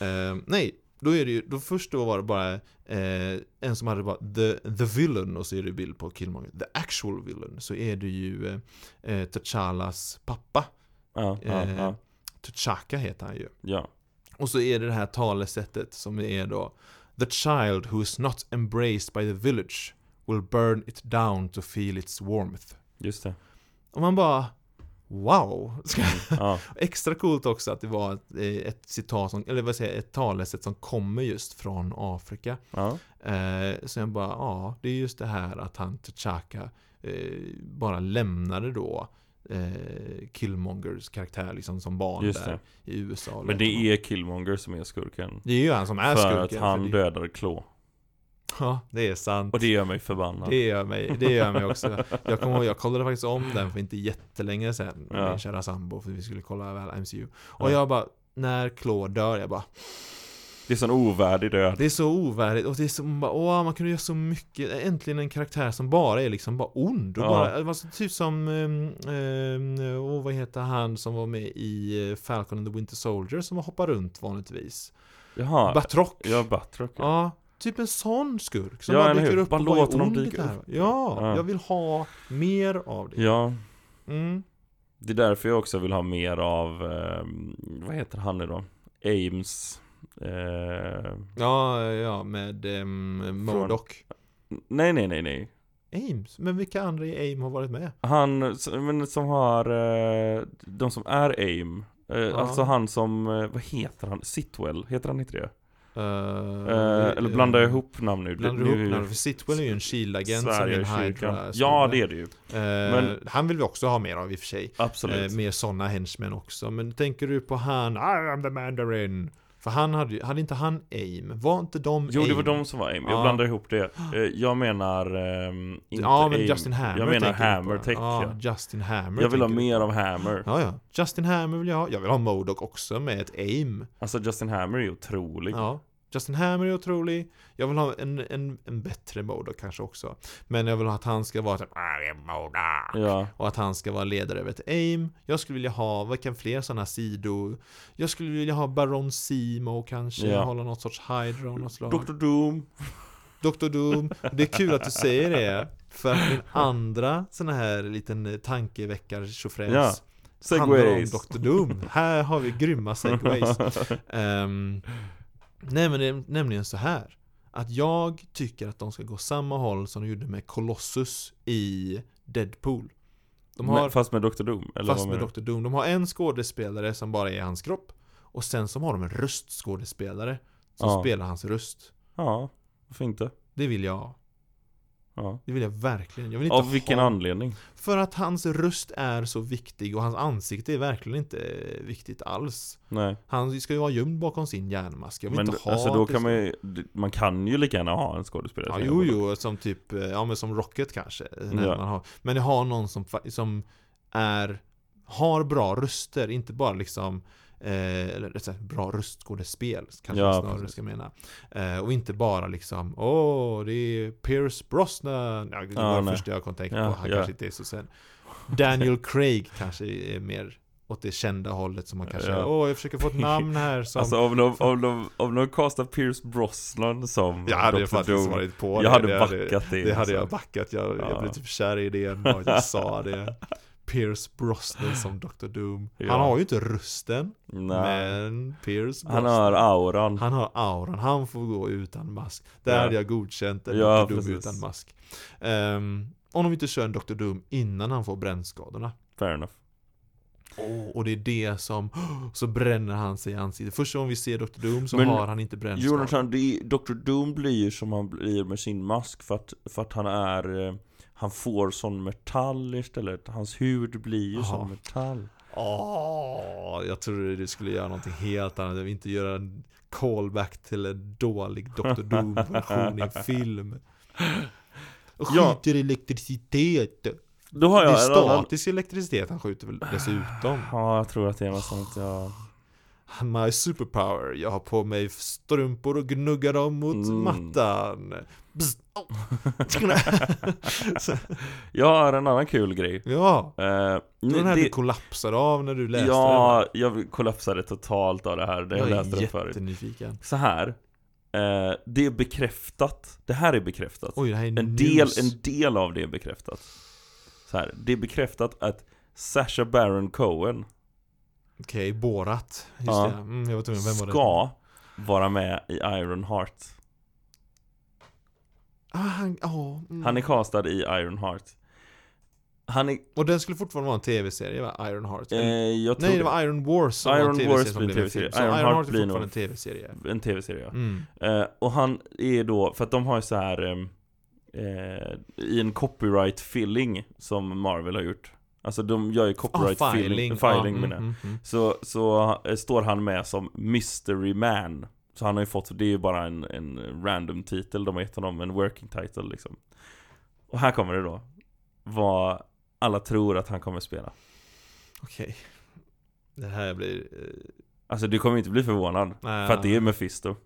[SPEAKER 2] Ehm, nej, då är det ju, då först då var det bara eh, en som hade bara the, the villain och så är det bild på Killmonger. The actual villain, så är det ju eh, eh, T'Challas pappa.
[SPEAKER 1] Ja, ja,
[SPEAKER 2] Eh,
[SPEAKER 1] ja,
[SPEAKER 2] T'Chaka heter han ju.
[SPEAKER 1] ja.
[SPEAKER 2] Och så är det det här talesättet som är då The child who is not embraced by the village will burn it down to feel its warmth.
[SPEAKER 1] Just det.
[SPEAKER 2] Och man bara Wow! Ska-
[SPEAKER 1] Ja,
[SPEAKER 2] Extra coolt också att det var ett, eh, ett citat, som, eller vad säger jag, ett talesätt som kommer just från Afrika.
[SPEAKER 1] ja,
[SPEAKER 2] Eh, så jag bara, ja, det är just det här att han T'Chaka eh, bara lämnade då eh, Killmongers karaktär liksom som barn
[SPEAKER 1] just
[SPEAKER 2] där
[SPEAKER 1] det.
[SPEAKER 2] i USA. liksom.
[SPEAKER 1] Men det är Killmonger som är skurken.
[SPEAKER 2] det är ju han som är
[SPEAKER 1] För att
[SPEAKER 2] skurken,
[SPEAKER 1] han
[SPEAKER 2] det,
[SPEAKER 1] dödar Klå.
[SPEAKER 2] Ja, det är sant.
[SPEAKER 1] Och det gör mig förbannad.
[SPEAKER 2] Det gör mig, det gör mig också. Jag, kommer ihåg, jag kollade faktiskt om den för inte jättelänge sedan med
[SPEAKER 1] Ja.
[SPEAKER 2] min kära sambo för vi skulle kolla över MCU. Och
[SPEAKER 1] Ja.
[SPEAKER 2] jag bara, när Claude dör, jag bara
[SPEAKER 1] Det är sån ovärdig död.
[SPEAKER 2] Det är så ovärdigt och det är så, man bara, åh, man kunde göra så mycket. Äntligen en karaktär som bara är liksom bara ond och
[SPEAKER 1] Ja.
[SPEAKER 2] bara, det var så typ som, ehm, ehm, åh, vad heter han som var med i eh, Falcon and the Winter Soldier som hoppar runt vanligtvis?
[SPEAKER 1] Jaha,
[SPEAKER 2] Batrock!
[SPEAKER 1] ja Batrock. Ja.
[SPEAKER 2] Ja, typ en sån skurk som
[SPEAKER 1] Ja,
[SPEAKER 2] bara
[SPEAKER 1] eller
[SPEAKER 2] dyker
[SPEAKER 1] hur?
[SPEAKER 2] upp
[SPEAKER 1] Bara
[SPEAKER 2] och bara
[SPEAKER 1] låt
[SPEAKER 2] är
[SPEAKER 1] honom
[SPEAKER 2] ond
[SPEAKER 1] dyka
[SPEAKER 2] där. Ja,
[SPEAKER 1] Ja.
[SPEAKER 2] jag vill ha mer av det.
[SPEAKER 1] ja,
[SPEAKER 2] Mm.
[SPEAKER 1] det är därför jag också vill ha mer av, eh, vad heter han nu då? Ames. Eh,
[SPEAKER 2] Ja, ja, med um, Modoc.
[SPEAKER 1] nej, nej, nej, nej.
[SPEAKER 2] Ames, men vilka andra i AIM har varit med?
[SPEAKER 1] Han s- men som har, eh, de som är AIM. Eh,
[SPEAKER 2] Ja.
[SPEAKER 1] Alltså han som, eh, vad heter han? Sitwell, heter han inte det?
[SPEAKER 2] Eh,
[SPEAKER 1] Eh, eller blandar jag
[SPEAKER 2] eh,
[SPEAKER 1] ihop namn nu?
[SPEAKER 2] Blandar
[SPEAKER 1] Nu-
[SPEAKER 2] ihop namn, för Sitwell är ju en Shield-agent som är en
[SPEAKER 1] Sverigekyrkan.
[SPEAKER 2] Hydra
[SPEAKER 1] Ja, det är det ju.
[SPEAKER 2] Men...
[SPEAKER 1] men-
[SPEAKER 2] Han vill vi också ha mer av i och för sig
[SPEAKER 1] Absolut.
[SPEAKER 2] eh, Mer sådana henchmen också Men tänker du på han I am the Mandarin För han hade ju, hade inte han AIM? Var inte de
[SPEAKER 1] Jo, det var
[SPEAKER 2] AIM?
[SPEAKER 1] de som var AIM. Jag
[SPEAKER 2] Ja.
[SPEAKER 1] blandar ihop det. Eh, Jag menar... ehm, inte
[SPEAKER 2] Ja, men
[SPEAKER 1] AIM.
[SPEAKER 2] Justin Hammer
[SPEAKER 1] Jag menar
[SPEAKER 2] tänker du på.
[SPEAKER 1] Hammer Tech,
[SPEAKER 2] ja,
[SPEAKER 1] ja.
[SPEAKER 2] Justin Hammer
[SPEAKER 1] Jag vill ha
[SPEAKER 2] tänker du
[SPEAKER 1] mer
[SPEAKER 2] på.
[SPEAKER 1] av Hammer.
[SPEAKER 2] Ja, ja. Justin Hammer vill jag ha Jag vill ha Modoc också med ett AIM
[SPEAKER 1] Alltså Justin Hammer är ju otrolig.
[SPEAKER 2] Ja. Justin Hammer är otrolig. Jag vill ha en, en, en bättre Modoc kanske också. Men jag vill ha att han ska vara typ I am Modoc.
[SPEAKER 1] Ja.
[SPEAKER 2] Och att han ska vara ledare över ett AIM. Jag skulle vilja ha, vad kan fler sådana sidor? Jag skulle vilja ha Baron Simo kanske,
[SPEAKER 1] Ja.
[SPEAKER 2] hålla något sorts Hydra av något slag.
[SPEAKER 1] Dr. Doom.
[SPEAKER 2] Dr. Doom. Det är kul att du säger det. För att min andra sån här liten tankeväckar-tjofräs
[SPEAKER 1] Ja.
[SPEAKER 2] handlar om
[SPEAKER 1] Segways.
[SPEAKER 2] Dr. Doom. Här har vi grymma segways. Ehm, nej men det är nämligen så här. Att jag tycker att de ska gå samma håll som de gjorde med Colossus i Deadpool. De har,
[SPEAKER 1] Men- Fast med Dr. Doom? Eller
[SPEAKER 2] fast
[SPEAKER 1] vad
[SPEAKER 2] med
[SPEAKER 1] menar
[SPEAKER 2] Dr. Doom, de har en skådespelare som bara är hans kropp. Och sen så har de en röstskådespelare som
[SPEAKER 1] Ja.
[SPEAKER 2] spelar hans röst.
[SPEAKER 1] du? Ja, varför inte?
[SPEAKER 2] Det vill jag ha.
[SPEAKER 1] Ja.
[SPEAKER 2] Det vill jag verkligen. Jag vill inte
[SPEAKER 1] Av vilken
[SPEAKER 2] ha...
[SPEAKER 1] anledning?
[SPEAKER 2] För att hans röst är så viktig och hans ansikte är verkligen inte eh, viktigt alls.
[SPEAKER 1] Nej.
[SPEAKER 2] Han ska ju vara gömd bakom sin järnmask. Jag vill
[SPEAKER 1] Men
[SPEAKER 2] inte ha
[SPEAKER 1] alltså då
[SPEAKER 2] att det
[SPEAKER 1] kan
[SPEAKER 2] ska-
[SPEAKER 1] man ju, man kan ju lika gärna ha en skådespelare. som
[SPEAKER 2] Ja, jo,
[SPEAKER 1] gör det.
[SPEAKER 2] jo, som typ, eh, ja men som Rocket kanske. eh, När
[SPEAKER 1] Ja.
[SPEAKER 2] man har, men jag har någon som, fa- som är, har bra röster, inte bara liksom Eh, eller rätt sagt, bra röstskådespel kanske
[SPEAKER 1] Ja,
[SPEAKER 2] jag snarare
[SPEAKER 1] precis.
[SPEAKER 2] ska mena. Eh, och inte bara liksom Åh, det är Pierce Brosnan. Ja, det
[SPEAKER 1] Ja,
[SPEAKER 2] var det
[SPEAKER 1] nej.
[SPEAKER 2] första jag kom att tänka
[SPEAKER 1] Ja,
[SPEAKER 2] på. Han
[SPEAKER 1] ja.
[SPEAKER 2] kanske inte är så sen. Daniel Craig kanske är mer åt det kända hållet som man kanske
[SPEAKER 1] Ja.
[SPEAKER 2] Åh, jag försöker få ett namn här som
[SPEAKER 1] Alltså om de, om de, om de castar Pierce Brosnan som
[SPEAKER 2] Jag hade
[SPEAKER 1] Dr.
[SPEAKER 2] faktiskt
[SPEAKER 1] Doom.
[SPEAKER 2] varit på det.
[SPEAKER 1] Jag hade
[SPEAKER 2] Det
[SPEAKER 1] backat det.
[SPEAKER 2] Det hade
[SPEAKER 1] alltså.
[SPEAKER 2] jag backat, jag,
[SPEAKER 1] Ja.
[SPEAKER 2] jag blev typ kär i idén bara att jag sa det. Pierce Brosnan som Dr. Doom.
[SPEAKER 1] Ja.
[SPEAKER 2] Han har ju inte rösten,
[SPEAKER 1] Nej.
[SPEAKER 2] men Pierce Brosnan.
[SPEAKER 1] Han har auran.
[SPEAKER 2] han har auran, han får gå utan mask. Där
[SPEAKER 1] Ja.
[SPEAKER 2] hade jag godkänt en
[SPEAKER 1] Ja,
[SPEAKER 2] Dr. Doom
[SPEAKER 1] precis.
[SPEAKER 2] utan mask. Ehm, om de inte kör en Dr. Doom innan han får brännskadorna.
[SPEAKER 1] Fair enough.
[SPEAKER 2] Och det är det som, så bränner han sig i ansiktet. Första gången vi ser Dr. Doom så
[SPEAKER 1] Men
[SPEAKER 2] har han inte brännskador.
[SPEAKER 1] Jonathan, det är, Dr. Doom blir ju som han blir med sin mask för att, för att han är eh, han får sån metall istället. Hans hud blir ju
[SPEAKER 2] Ja.
[SPEAKER 1] som metall.
[SPEAKER 2] Åh, jag trodde du skulle göra någonting helt annat. Jag vill inte göra en callback till en dålig Dr. Doom-version i en film. Och
[SPEAKER 1] Ja.
[SPEAKER 2] skjuter elektricitet.
[SPEAKER 1] Då har
[SPEAKER 2] det är
[SPEAKER 1] jag en annan...
[SPEAKER 2] statisk elektricitet han skjuter väl dessutom.
[SPEAKER 1] Ja, jag tror att det är något sånt. Ja.
[SPEAKER 2] My superpower. Jag har på mig strumpor och gnuggar dem mot
[SPEAKER 1] Mm.
[SPEAKER 2] mattan. Bzz. Oh. Så-
[SPEAKER 1] Jag har en annan kul grej.
[SPEAKER 2] ja,
[SPEAKER 1] Eh,
[SPEAKER 2] det var den här du
[SPEAKER 1] det,
[SPEAKER 2] kollapsade av när du läste
[SPEAKER 1] ja, jag kollapsade totalt av det här.
[SPEAKER 2] den.
[SPEAKER 1] Det
[SPEAKER 2] va?
[SPEAKER 1] jag
[SPEAKER 2] Jag
[SPEAKER 1] läste det
[SPEAKER 2] är
[SPEAKER 1] förut.
[SPEAKER 2] jättenyfiken.
[SPEAKER 1] Så här. Eh, det är bekräftat. Det här är bekräftat.
[SPEAKER 2] Oj, det här är
[SPEAKER 1] En del,
[SPEAKER 2] news.
[SPEAKER 1] en del av det är bekräftat. Så här, det är bekräftat att Sasha Baron Cohen
[SPEAKER 2] Okej, Borat. Just
[SPEAKER 1] Ja.
[SPEAKER 2] det. Mm, jag var tvungen, vem var det?
[SPEAKER 1] ska vara med i Ironheart.
[SPEAKER 2] Ah, han, ja, mm.
[SPEAKER 1] Han är castad i Ironheart. Han är...
[SPEAKER 2] Och den skulle fortfarande vara en tv-serie va? Ironheart?
[SPEAKER 1] Eh,
[SPEAKER 2] Eller-
[SPEAKER 1] jag tror
[SPEAKER 2] Nej det var Iron Wars som
[SPEAKER 1] Iron
[SPEAKER 2] var en
[SPEAKER 1] Wars
[SPEAKER 2] tv-serie som
[SPEAKER 1] blir
[SPEAKER 2] blev en
[SPEAKER 1] TV-serie.
[SPEAKER 2] film. Så
[SPEAKER 1] Iron
[SPEAKER 2] Iron
[SPEAKER 1] Heart
[SPEAKER 2] Heart är
[SPEAKER 1] blir nog-
[SPEAKER 2] fortfarande en tv-serie.
[SPEAKER 1] en tv-serie ja.
[SPEAKER 2] Mm.
[SPEAKER 1] Eh, och han är då, för att de har ju så här ehm, eh, I en copyright filling som Marvel har gjort Alltså de gör ju copyright
[SPEAKER 2] Ah,
[SPEAKER 1] filling,
[SPEAKER 2] Ja,
[SPEAKER 1] filing menar jag.
[SPEAKER 2] mm, mm,
[SPEAKER 1] Så, så eh, står han med som Mystery Man Så han har ju fått, det är ju bara en, en random titel de har gett honom, en working title liksom Och här kommer det då Vad alla tror att han kommer spela
[SPEAKER 2] Okej. Det här blir... eh,
[SPEAKER 1] Alltså du kommer inte bli förvånad
[SPEAKER 2] nej.
[SPEAKER 1] För att det är Mephisto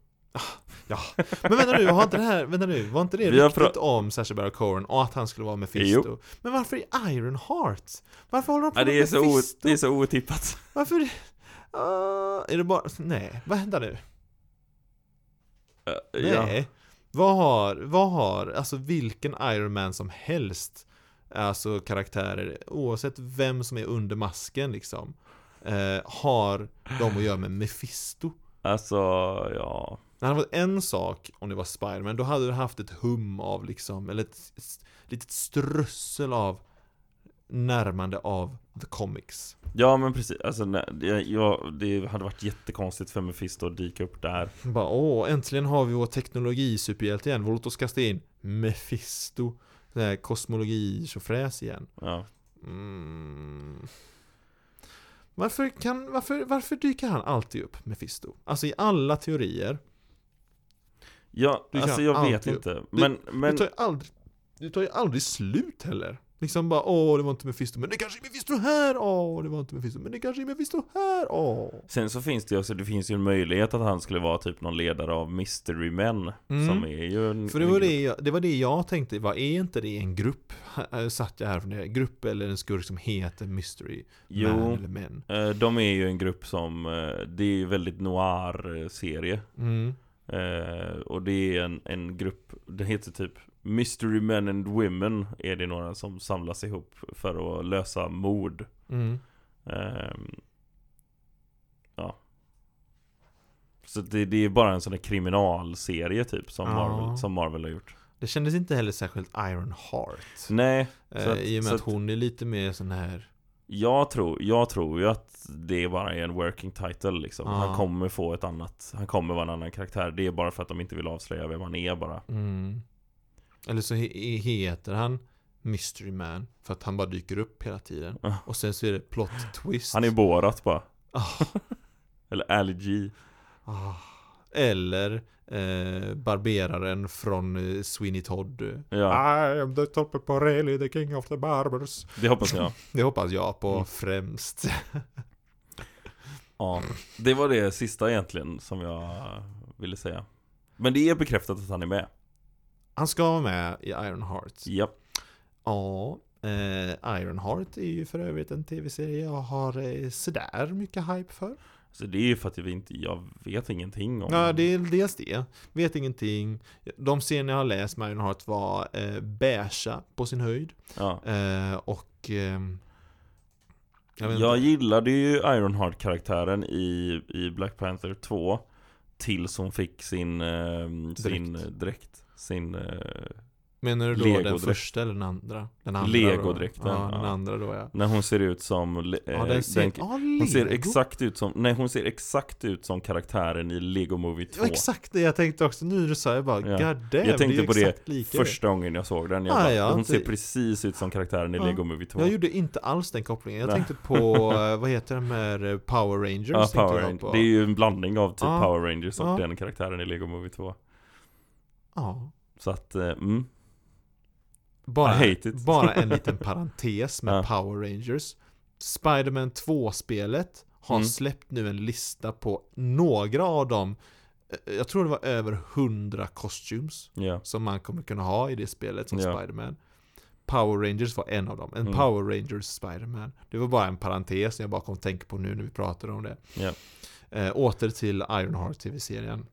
[SPEAKER 2] Ah. Men vänta nu, har inte det här, vänta nu, var inte det
[SPEAKER 1] Vi har
[SPEAKER 2] riktigt om Sacha Baron Cohen och att han skulle vara Mephisto? Men varför i Ironheart? Varför håller de på
[SPEAKER 1] ja, det,
[SPEAKER 2] med
[SPEAKER 1] är så o,
[SPEAKER 2] Mephisto?
[SPEAKER 1] det är så otippat
[SPEAKER 2] Varför? Ah, är det bara, nej, vad händer nu?
[SPEAKER 1] Eh, ja.
[SPEAKER 2] Nej. Vad har, vad har, alltså vilken Iron Man som helst Alltså karaktärer, oavsett vem som är under masken liksom eh, Har de att göra med Mephisto
[SPEAKER 1] Alltså, ja
[SPEAKER 2] Det hade varit en sak om det var Spiderman, då hade du haft ett hum av liksom, eller ett, ett litet strössel av närmande av the comics.
[SPEAKER 1] Ja men precis, alltså, nej, det, ja, det hade varit jättekonstigt för Mephisto att dyka upp där
[SPEAKER 2] Bara åh, äntligen har vi vår teknologisuperhjälte igen, låt oss kasta in Mephisto, den här kosmologi fräs igen.
[SPEAKER 1] ja.
[SPEAKER 2] Mm. Varför, kan, varför, varför dyker han alltid upp, Mephisto? Alltså i alla teorier,
[SPEAKER 1] Ja,
[SPEAKER 2] Du
[SPEAKER 1] alltså
[SPEAKER 2] kan
[SPEAKER 1] jag
[SPEAKER 2] alltid-
[SPEAKER 1] vet inte. Men, men
[SPEAKER 2] det, tar ju aldrig, det tar ju aldrig slut heller. Liksom bara åh det var inte Mephisto, men det kanske är Mephisto här, åh det var inte Mephisto, men det kanske är Mephisto här, åh.
[SPEAKER 1] sen så finns det ju också, det finns ju en möjlighet att han skulle vara typ någon ledare av Mystery Men.
[SPEAKER 2] Mm.
[SPEAKER 1] Som är ju en...
[SPEAKER 2] För det var det, jag, det var det jag tänkte, vad är inte det en grupp? Här Satt jag här från det, grupp eller en skurk som heter Mystery Man
[SPEAKER 1] Jo.
[SPEAKER 2] eller Men.
[SPEAKER 1] eh, De är ju en grupp som, eh, det är ju väldigt noir-serie.
[SPEAKER 2] Mm.
[SPEAKER 1] Eh, Och det är en, en grupp, det heter typ Mystery Men and Women är det några som samlas ihop för att lösa mord.
[SPEAKER 2] Mm.
[SPEAKER 1] Ehm, ja. Så det, det är bara en sån där kriminalserie typ som,
[SPEAKER 2] Ja.
[SPEAKER 1] Marvel, som Marvel har gjort.
[SPEAKER 2] Det kändes inte heller särskilt Iron Heart. eh,
[SPEAKER 1] Nej, så att-
[SPEAKER 2] I och med
[SPEAKER 1] så
[SPEAKER 2] att
[SPEAKER 1] att-
[SPEAKER 2] hon är lite mer sån här
[SPEAKER 1] jag tror, jag tror ju att det bara är en working title liksom.
[SPEAKER 2] Ja.
[SPEAKER 1] Han kommer få ett annat, han kommer vara en annan karaktär. Det är bara för att de inte vill avslöja vem han är bara.
[SPEAKER 2] Mm. Eller så he- he- heter han Mystery Man för att han bara dyker upp hela tiden.
[SPEAKER 1] Ja.
[SPEAKER 2] Och sen så är det plot twist.
[SPEAKER 1] Ah. Han är Borat bara.
[SPEAKER 2] Ah.
[SPEAKER 1] Eller Ali G.
[SPEAKER 2] Ah. Eller eh, barberaren från eh, Sweeney Todd.
[SPEAKER 1] Ja,
[SPEAKER 2] I am the top of Borelli, the king of the barbers.
[SPEAKER 1] det hoppas jag.
[SPEAKER 2] Det hoppas jag på
[SPEAKER 1] Mm.
[SPEAKER 2] främst.
[SPEAKER 1] Ja, det var det sista egentligen som jag ville säga. Men det är bekräftat att han är med.
[SPEAKER 2] Han ska vara med i Ironheart.
[SPEAKER 1] Japp.
[SPEAKER 2] Ja, eh, Ironheart är ju för övrigt en tv-serie jag har eh, sådär mycket hype för.
[SPEAKER 1] Så det är ju för att vi inte, jag vet ingenting om
[SPEAKER 2] Ja, det är dels det. Vet ingenting. De scener jag har läst med Iron Heart var eh, beiga på sin höjd.
[SPEAKER 1] Ja.
[SPEAKER 2] Eh, och... ehm, jag vet
[SPEAKER 1] Jag,
[SPEAKER 2] inte.
[SPEAKER 1] gillade ju Ironheart-karaktären i, i Black Panther 2 Tills hon fick sin, eh, sin eh, dräkt Sin, eh,
[SPEAKER 2] Menar du då den
[SPEAKER 1] Legodräkt.
[SPEAKER 2] första eller den andra? Den andra
[SPEAKER 1] Legodräkten,
[SPEAKER 2] då. Ja, den
[SPEAKER 1] ja.
[SPEAKER 2] andra då ja.
[SPEAKER 1] när hon ser ut som le-
[SPEAKER 2] Ja,
[SPEAKER 1] eh,
[SPEAKER 2] den ser,
[SPEAKER 1] den-
[SPEAKER 2] ja,
[SPEAKER 1] Hon ser
[SPEAKER 2] Lego.
[SPEAKER 1] exakt ut som, nej hon ser exakt ut som karaktären i Lego Movie 2
[SPEAKER 2] Det var exakt det jag tänkte också. Nu sa jag bara,
[SPEAKER 1] Ja.
[SPEAKER 2] ja. god damn,
[SPEAKER 1] Jag tänkte
[SPEAKER 2] det är
[SPEAKER 1] på det
[SPEAKER 2] exakt lika det.
[SPEAKER 1] Första gången jag såg den, jag
[SPEAKER 2] Ah,
[SPEAKER 1] bara,
[SPEAKER 2] ja,
[SPEAKER 1] hon
[SPEAKER 2] det-
[SPEAKER 1] ser precis ut som karaktären i
[SPEAKER 2] Ja.
[SPEAKER 1] Lego Movie 2
[SPEAKER 2] Jag gjorde inte alls den kopplingen. Jag
[SPEAKER 1] Nej.
[SPEAKER 2] tänkte på, eh, vad heter de här eh, Power Rangers?
[SPEAKER 1] Ja,
[SPEAKER 2] tänkte jag
[SPEAKER 1] Power
[SPEAKER 2] på.
[SPEAKER 1] Rangers. Det är ju en blandning av typ
[SPEAKER 2] Ja.
[SPEAKER 1] Power Rangers och
[SPEAKER 2] Ja.
[SPEAKER 1] den karaktären i Lego Movie 2
[SPEAKER 2] Ja.
[SPEAKER 1] Så att, eh, mm,
[SPEAKER 2] Bara,
[SPEAKER 1] I hate it.
[SPEAKER 2] bara en liten parentes med
[SPEAKER 1] Ja.
[SPEAKER 2] Power Rangers. Spider-Man 2-spelet har
[SPEAKER 1] Mm.
[SPEAKER 2] släppt nu en lista på några av dem. Eh, Jag tror det var över 100 costumes
[SPEAKER 1] ja
[SPEAKER 2] som man kommer kunna ha i det spelet som
[SPEAKER 1] Ja.
[SPEAKER 2] Spider-Man. Power Rangers var en av dem. En
[SPEAKER 1] Mm.
[SPEAKER 2] Power Rangers Spider-Man. Det var bara en parentes som jag bara kom att tänka på nu när vi pratade om det.
[SPEAKER 1] Ja.
[SPEAKER 2] Eh, åter till Ironheart TV-serien.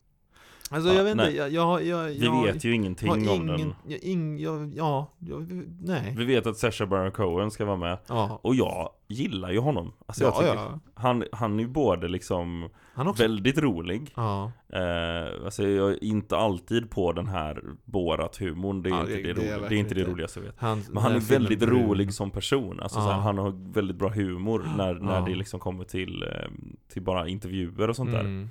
[SPEAKER 2] Alltså
[SPEAKER 1] Ja,
[SPEAKER 2] jag vet inte,
[SPEAKER 1] nej.
[SPEAKER 2] jag, jag, jag,
[SPEAKER 1] Vi
[SPEAKER 2] jag
[SPEAKER 1] vet ju ingenting
[SPEAKER 2] har
[SPEAKER 1] om den.
[SPEAKER 2] Jag, ing, jag, ja, jag, nej.
[SPEAKER 1] Vi vet att Sasha Baron Cohen ska vara med.
[SPEAKER 2] Ja,
[SPEAKER 1] Och jag gillar ju honom. Alltså jag
[SPEAKER 2] ja,
[SPEAKER 1] tycker,
[SPEAKER 2] ja.
[SPEAKER 1] Han, han är ju både liksom
[SPEAKER 2] Han också.
[SPEAKER 1] väldigt rolig.
[SPEAKER 2] ja.
[SPEAKER 1] Eh, alltså jag är inte alltid på den här Borat-humorn. Det är,
[SPEAKER 2] Ja,
[SPEAKER 1] inte,
[SPEAKER 2] det-
[SPEAKER 1] det,
[SPEAKER 2] det är
[SPEAKER 1] roliga- det är
[SPEAKER 2] verkligen
[SPEAKER 1] inte det
[SPEAKER 2] inte.
[SPEAKER 1] roligaste jag vet.
[SPEAKER 2] Han,
[SPEAKER 1] Men han är
[SPEAKER 2] den här
[SPEAKER 1] väldigt
[SPEAKER 2] filmen Brun.
[SPEAKER 1] rolig som person. Alltså, så
[SPEAKER 2] Ja.
[SPEAKER 1] här, han har väldigt bra humor när, när
[SPEAKER 2] Ja.
[SPEAKER 1] det liksom kommer till, eh, till bara intervjuer och sånt där.
[SPEAKER 2] Mm.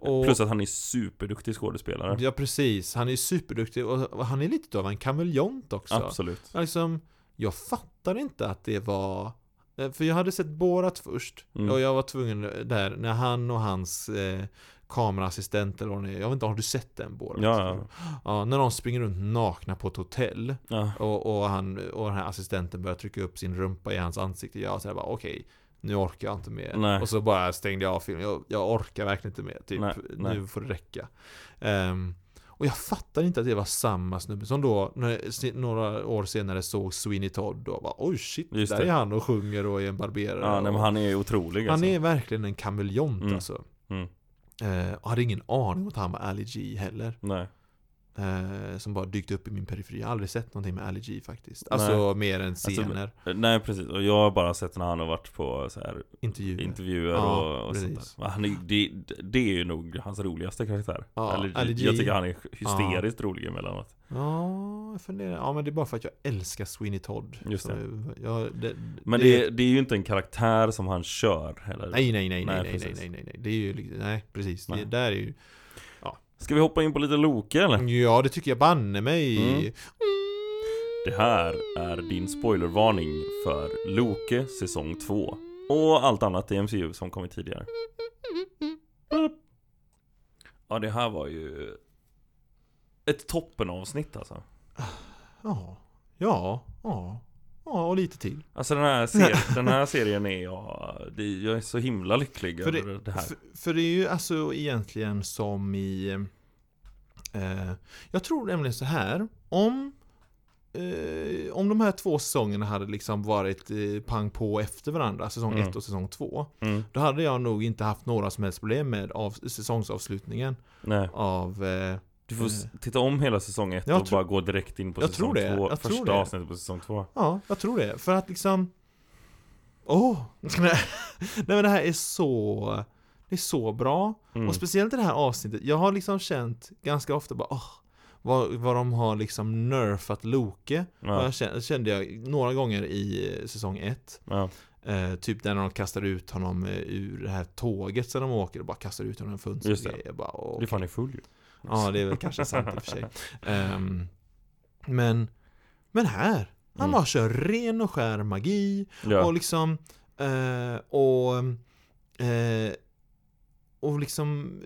[SPEAKER 2] Och,
[SPEAKER 1] Plus att han är superduktig skådespelare.
[SPEAKER 2] Ja precis, han är superduktig och och han är lite av en kameleont också.
[SPEAKER 1] Absolut.
[SPEAKER 2] Jag Liksom, jag fattar inte att det var eh, för jag hade sett Borat först
[SPEAKER 1] Mm.
[SPEAKER 2] och jag var tvungen eh, där när han och hans eh, kameraassistent eller vad det är, jag vet inte, har du sett den Borat?
[SPEAKER 1] Ja, ja.
[SPEAKER 2] Ja, när de springer runt nakna på ett hotell
[SPEAKER 1] Ja.
[SPEAKER 2] och, och, han, och den här assistenten börjar trycka upp sin rumpa i hans ansikte. Jag så här bara okej, nu orkar jag inte mer.
[SPEAKER 1] Nej.
[SPEAKER 2] Och så bara stängde jag av filmen. Jag, jag orkar verkligen inte mer. Typ,
[SPEAKER 1] Nej, nej.
[SPEAKER 2] nu får det räcka. Ehm, och jag fattar inte att det var samma snubbe som då, när, se- några år senare såg Sweeney Todd då. Bara, Oj shit,
[SPEAKER 1] Just
[SPEAKER 2] där
[SPEAKER 1] det.
[SPEAKER 2] är han och sjunger och är en barberare.
[SPEAKER 1] Ja, nej, men han är otrolig
[SPEAKER 2] Han
[SPEAKER 1] alltså.
[SPEAKER 2] är verkligen en kameleont
[SPEAKER 1] Mm.
[SPEAKER 2] alltså.
[SPEAKER 1] Mm.
[SPEAKER 2] Eh, och hade ingen aning om att han var Ali G heller.
[SPEAKER 1] Nej.
[SPEAKER 2] Eh, som bara dykt upp i min periferi. Jag har aldrig sett någonting med Ali G faktiskt. Alltså mer än
[SPEAKER 1] men-
[SPEAKER 2] scener,
[SPEAKER 1] Nej precis, och jag har bara sett när han har varit på så här
[SPEAKER 2] intervjuer.
[SPEAKER 1] intervjuer
[SPEAKER 2] Ja,
[SPEAKER 1] och, och sånt
[SPEAKER 2] precis.
[SPEAKER 1] där. Men Han är, det, det är ju nog hans roligaste karaktär.
[SPEAKER 2] Ja,
[SPEAKER 1] Eller,
[SPEAKER 2] Ali G.
[SPEAKER 1] jag tycker han är hysteriskt rolig emellanåt.
[SPEAKER 2] ja, jag funderar. Ja, men det är bara för att jag älskar Sweeney Todd.
[SPEAKER 1] Just det.
[SPEAKER 2] Så, ja, det
[SPEAKER 1] Men det, är- det är ju inte en karaktär som han kör heller.
[SPEAKER 2] Nej, nej, nej,
[SPEAKER 1] Nej,
[SPEAKER 2] nej, nej, nej,
[SPEAKER 1] precis.
[SPEAKER 2] nej, nej, nej. Det är ju liksom- nej, precis.
[SPEAKER 1] Nej.
[SPEAKER 2] Det där är ju,
[SPEAKER 1] Ska vi hoppa in på lite Loke eller?
[SPEAKER 2] ja det tycker jag banne mig.
[SPEAKER 1] Mm. Det här är din spoilervarning för Loke säsong 2 och allt annat i MCU som kommit tidigare.
[SPEAKER 2] Mm.
[SPEAKER 1] Ja, det här var ju ett toppenavsnitt alltså.
[SPEAKER 2] Ja, ja, ja, ja och lite till.
[SPEAKER 1] Alltså den här, ser- den här serien är jag, det, jag är så himla lycklig
[SPEAKER 2] För det-
[SPEAKER 1] över det här.
[SPEAKER 2] För, för det är ju alltså egentligen som i... Eh, jag tror nämligen så här. Om, eh, om de här två säsongerna hade liksom varit eh, pang på efter varandra, säsong ett
[SPEAKER 1] Mm.
[SPEAKER 2] och säsong två.
[SPEAKER 1] Mm,
[SPEAKER 2] Då hade jag nog inte haft några som helst problem med av, säsongsavslutningen
[SPEAKER 1] nej.
[SPEAKER 2] av... Eh,
[SPEAKER 1] Du får s- titta om hela säsong 1
[SPEAKER 2] Jag
[SPEAKER 1] och
[SPEAKER 2] tro-
[SPEAKER 1] bara gå direkt in på
[SPEAKER 2] Jag
[SPEAKER 1] säsong
[SPEAKER 2] tror det,
[SPEAKER 1] 2.
[SPEAKER 2] jag tror
[SPEAKER 1] Första
[SPEAKER 2] det.
[SPEAKER 1] avsnittet på säsong 2.
[SPEAKER 2] ja, jag tror det. För att liksom... Åh! nej men det här är så... Det är så bra.
[SPEAKER 1] Mm.
[SPEAKER 2] Och speciellt i det här avsnittet, jag har liksom känt ganska ofta bara åh, vad, vad de har liksom nerfat Loke. Och
[SPEAKER 1] Ja,
[SPEAKER 2] jag kände, kände jag några gånger i eh, säsong 1.
[SPEAKER 1] ja,
[SPEAKER 2] Eh, typ där när de kastar ut honom eh, ur det här tåget som de åker och bara kastar ut honom i fönstret.
[SPEAKER 1] Just det.
[SPEAKER 2] Jag bara, åh,
[SPEAKER 1] det är fan i full ju.
[SPEAKER 2] Ja, det är väl kanske sant i och för sig. Ehm, men, men här, han
[SPEAKER 1] Mm.
[SPEAKER 2] bara kör ren och skär magi. Och
[SPEAKER 1] Ja,
[SPEAKER 2] liksom, eh, och, eh, och liksom,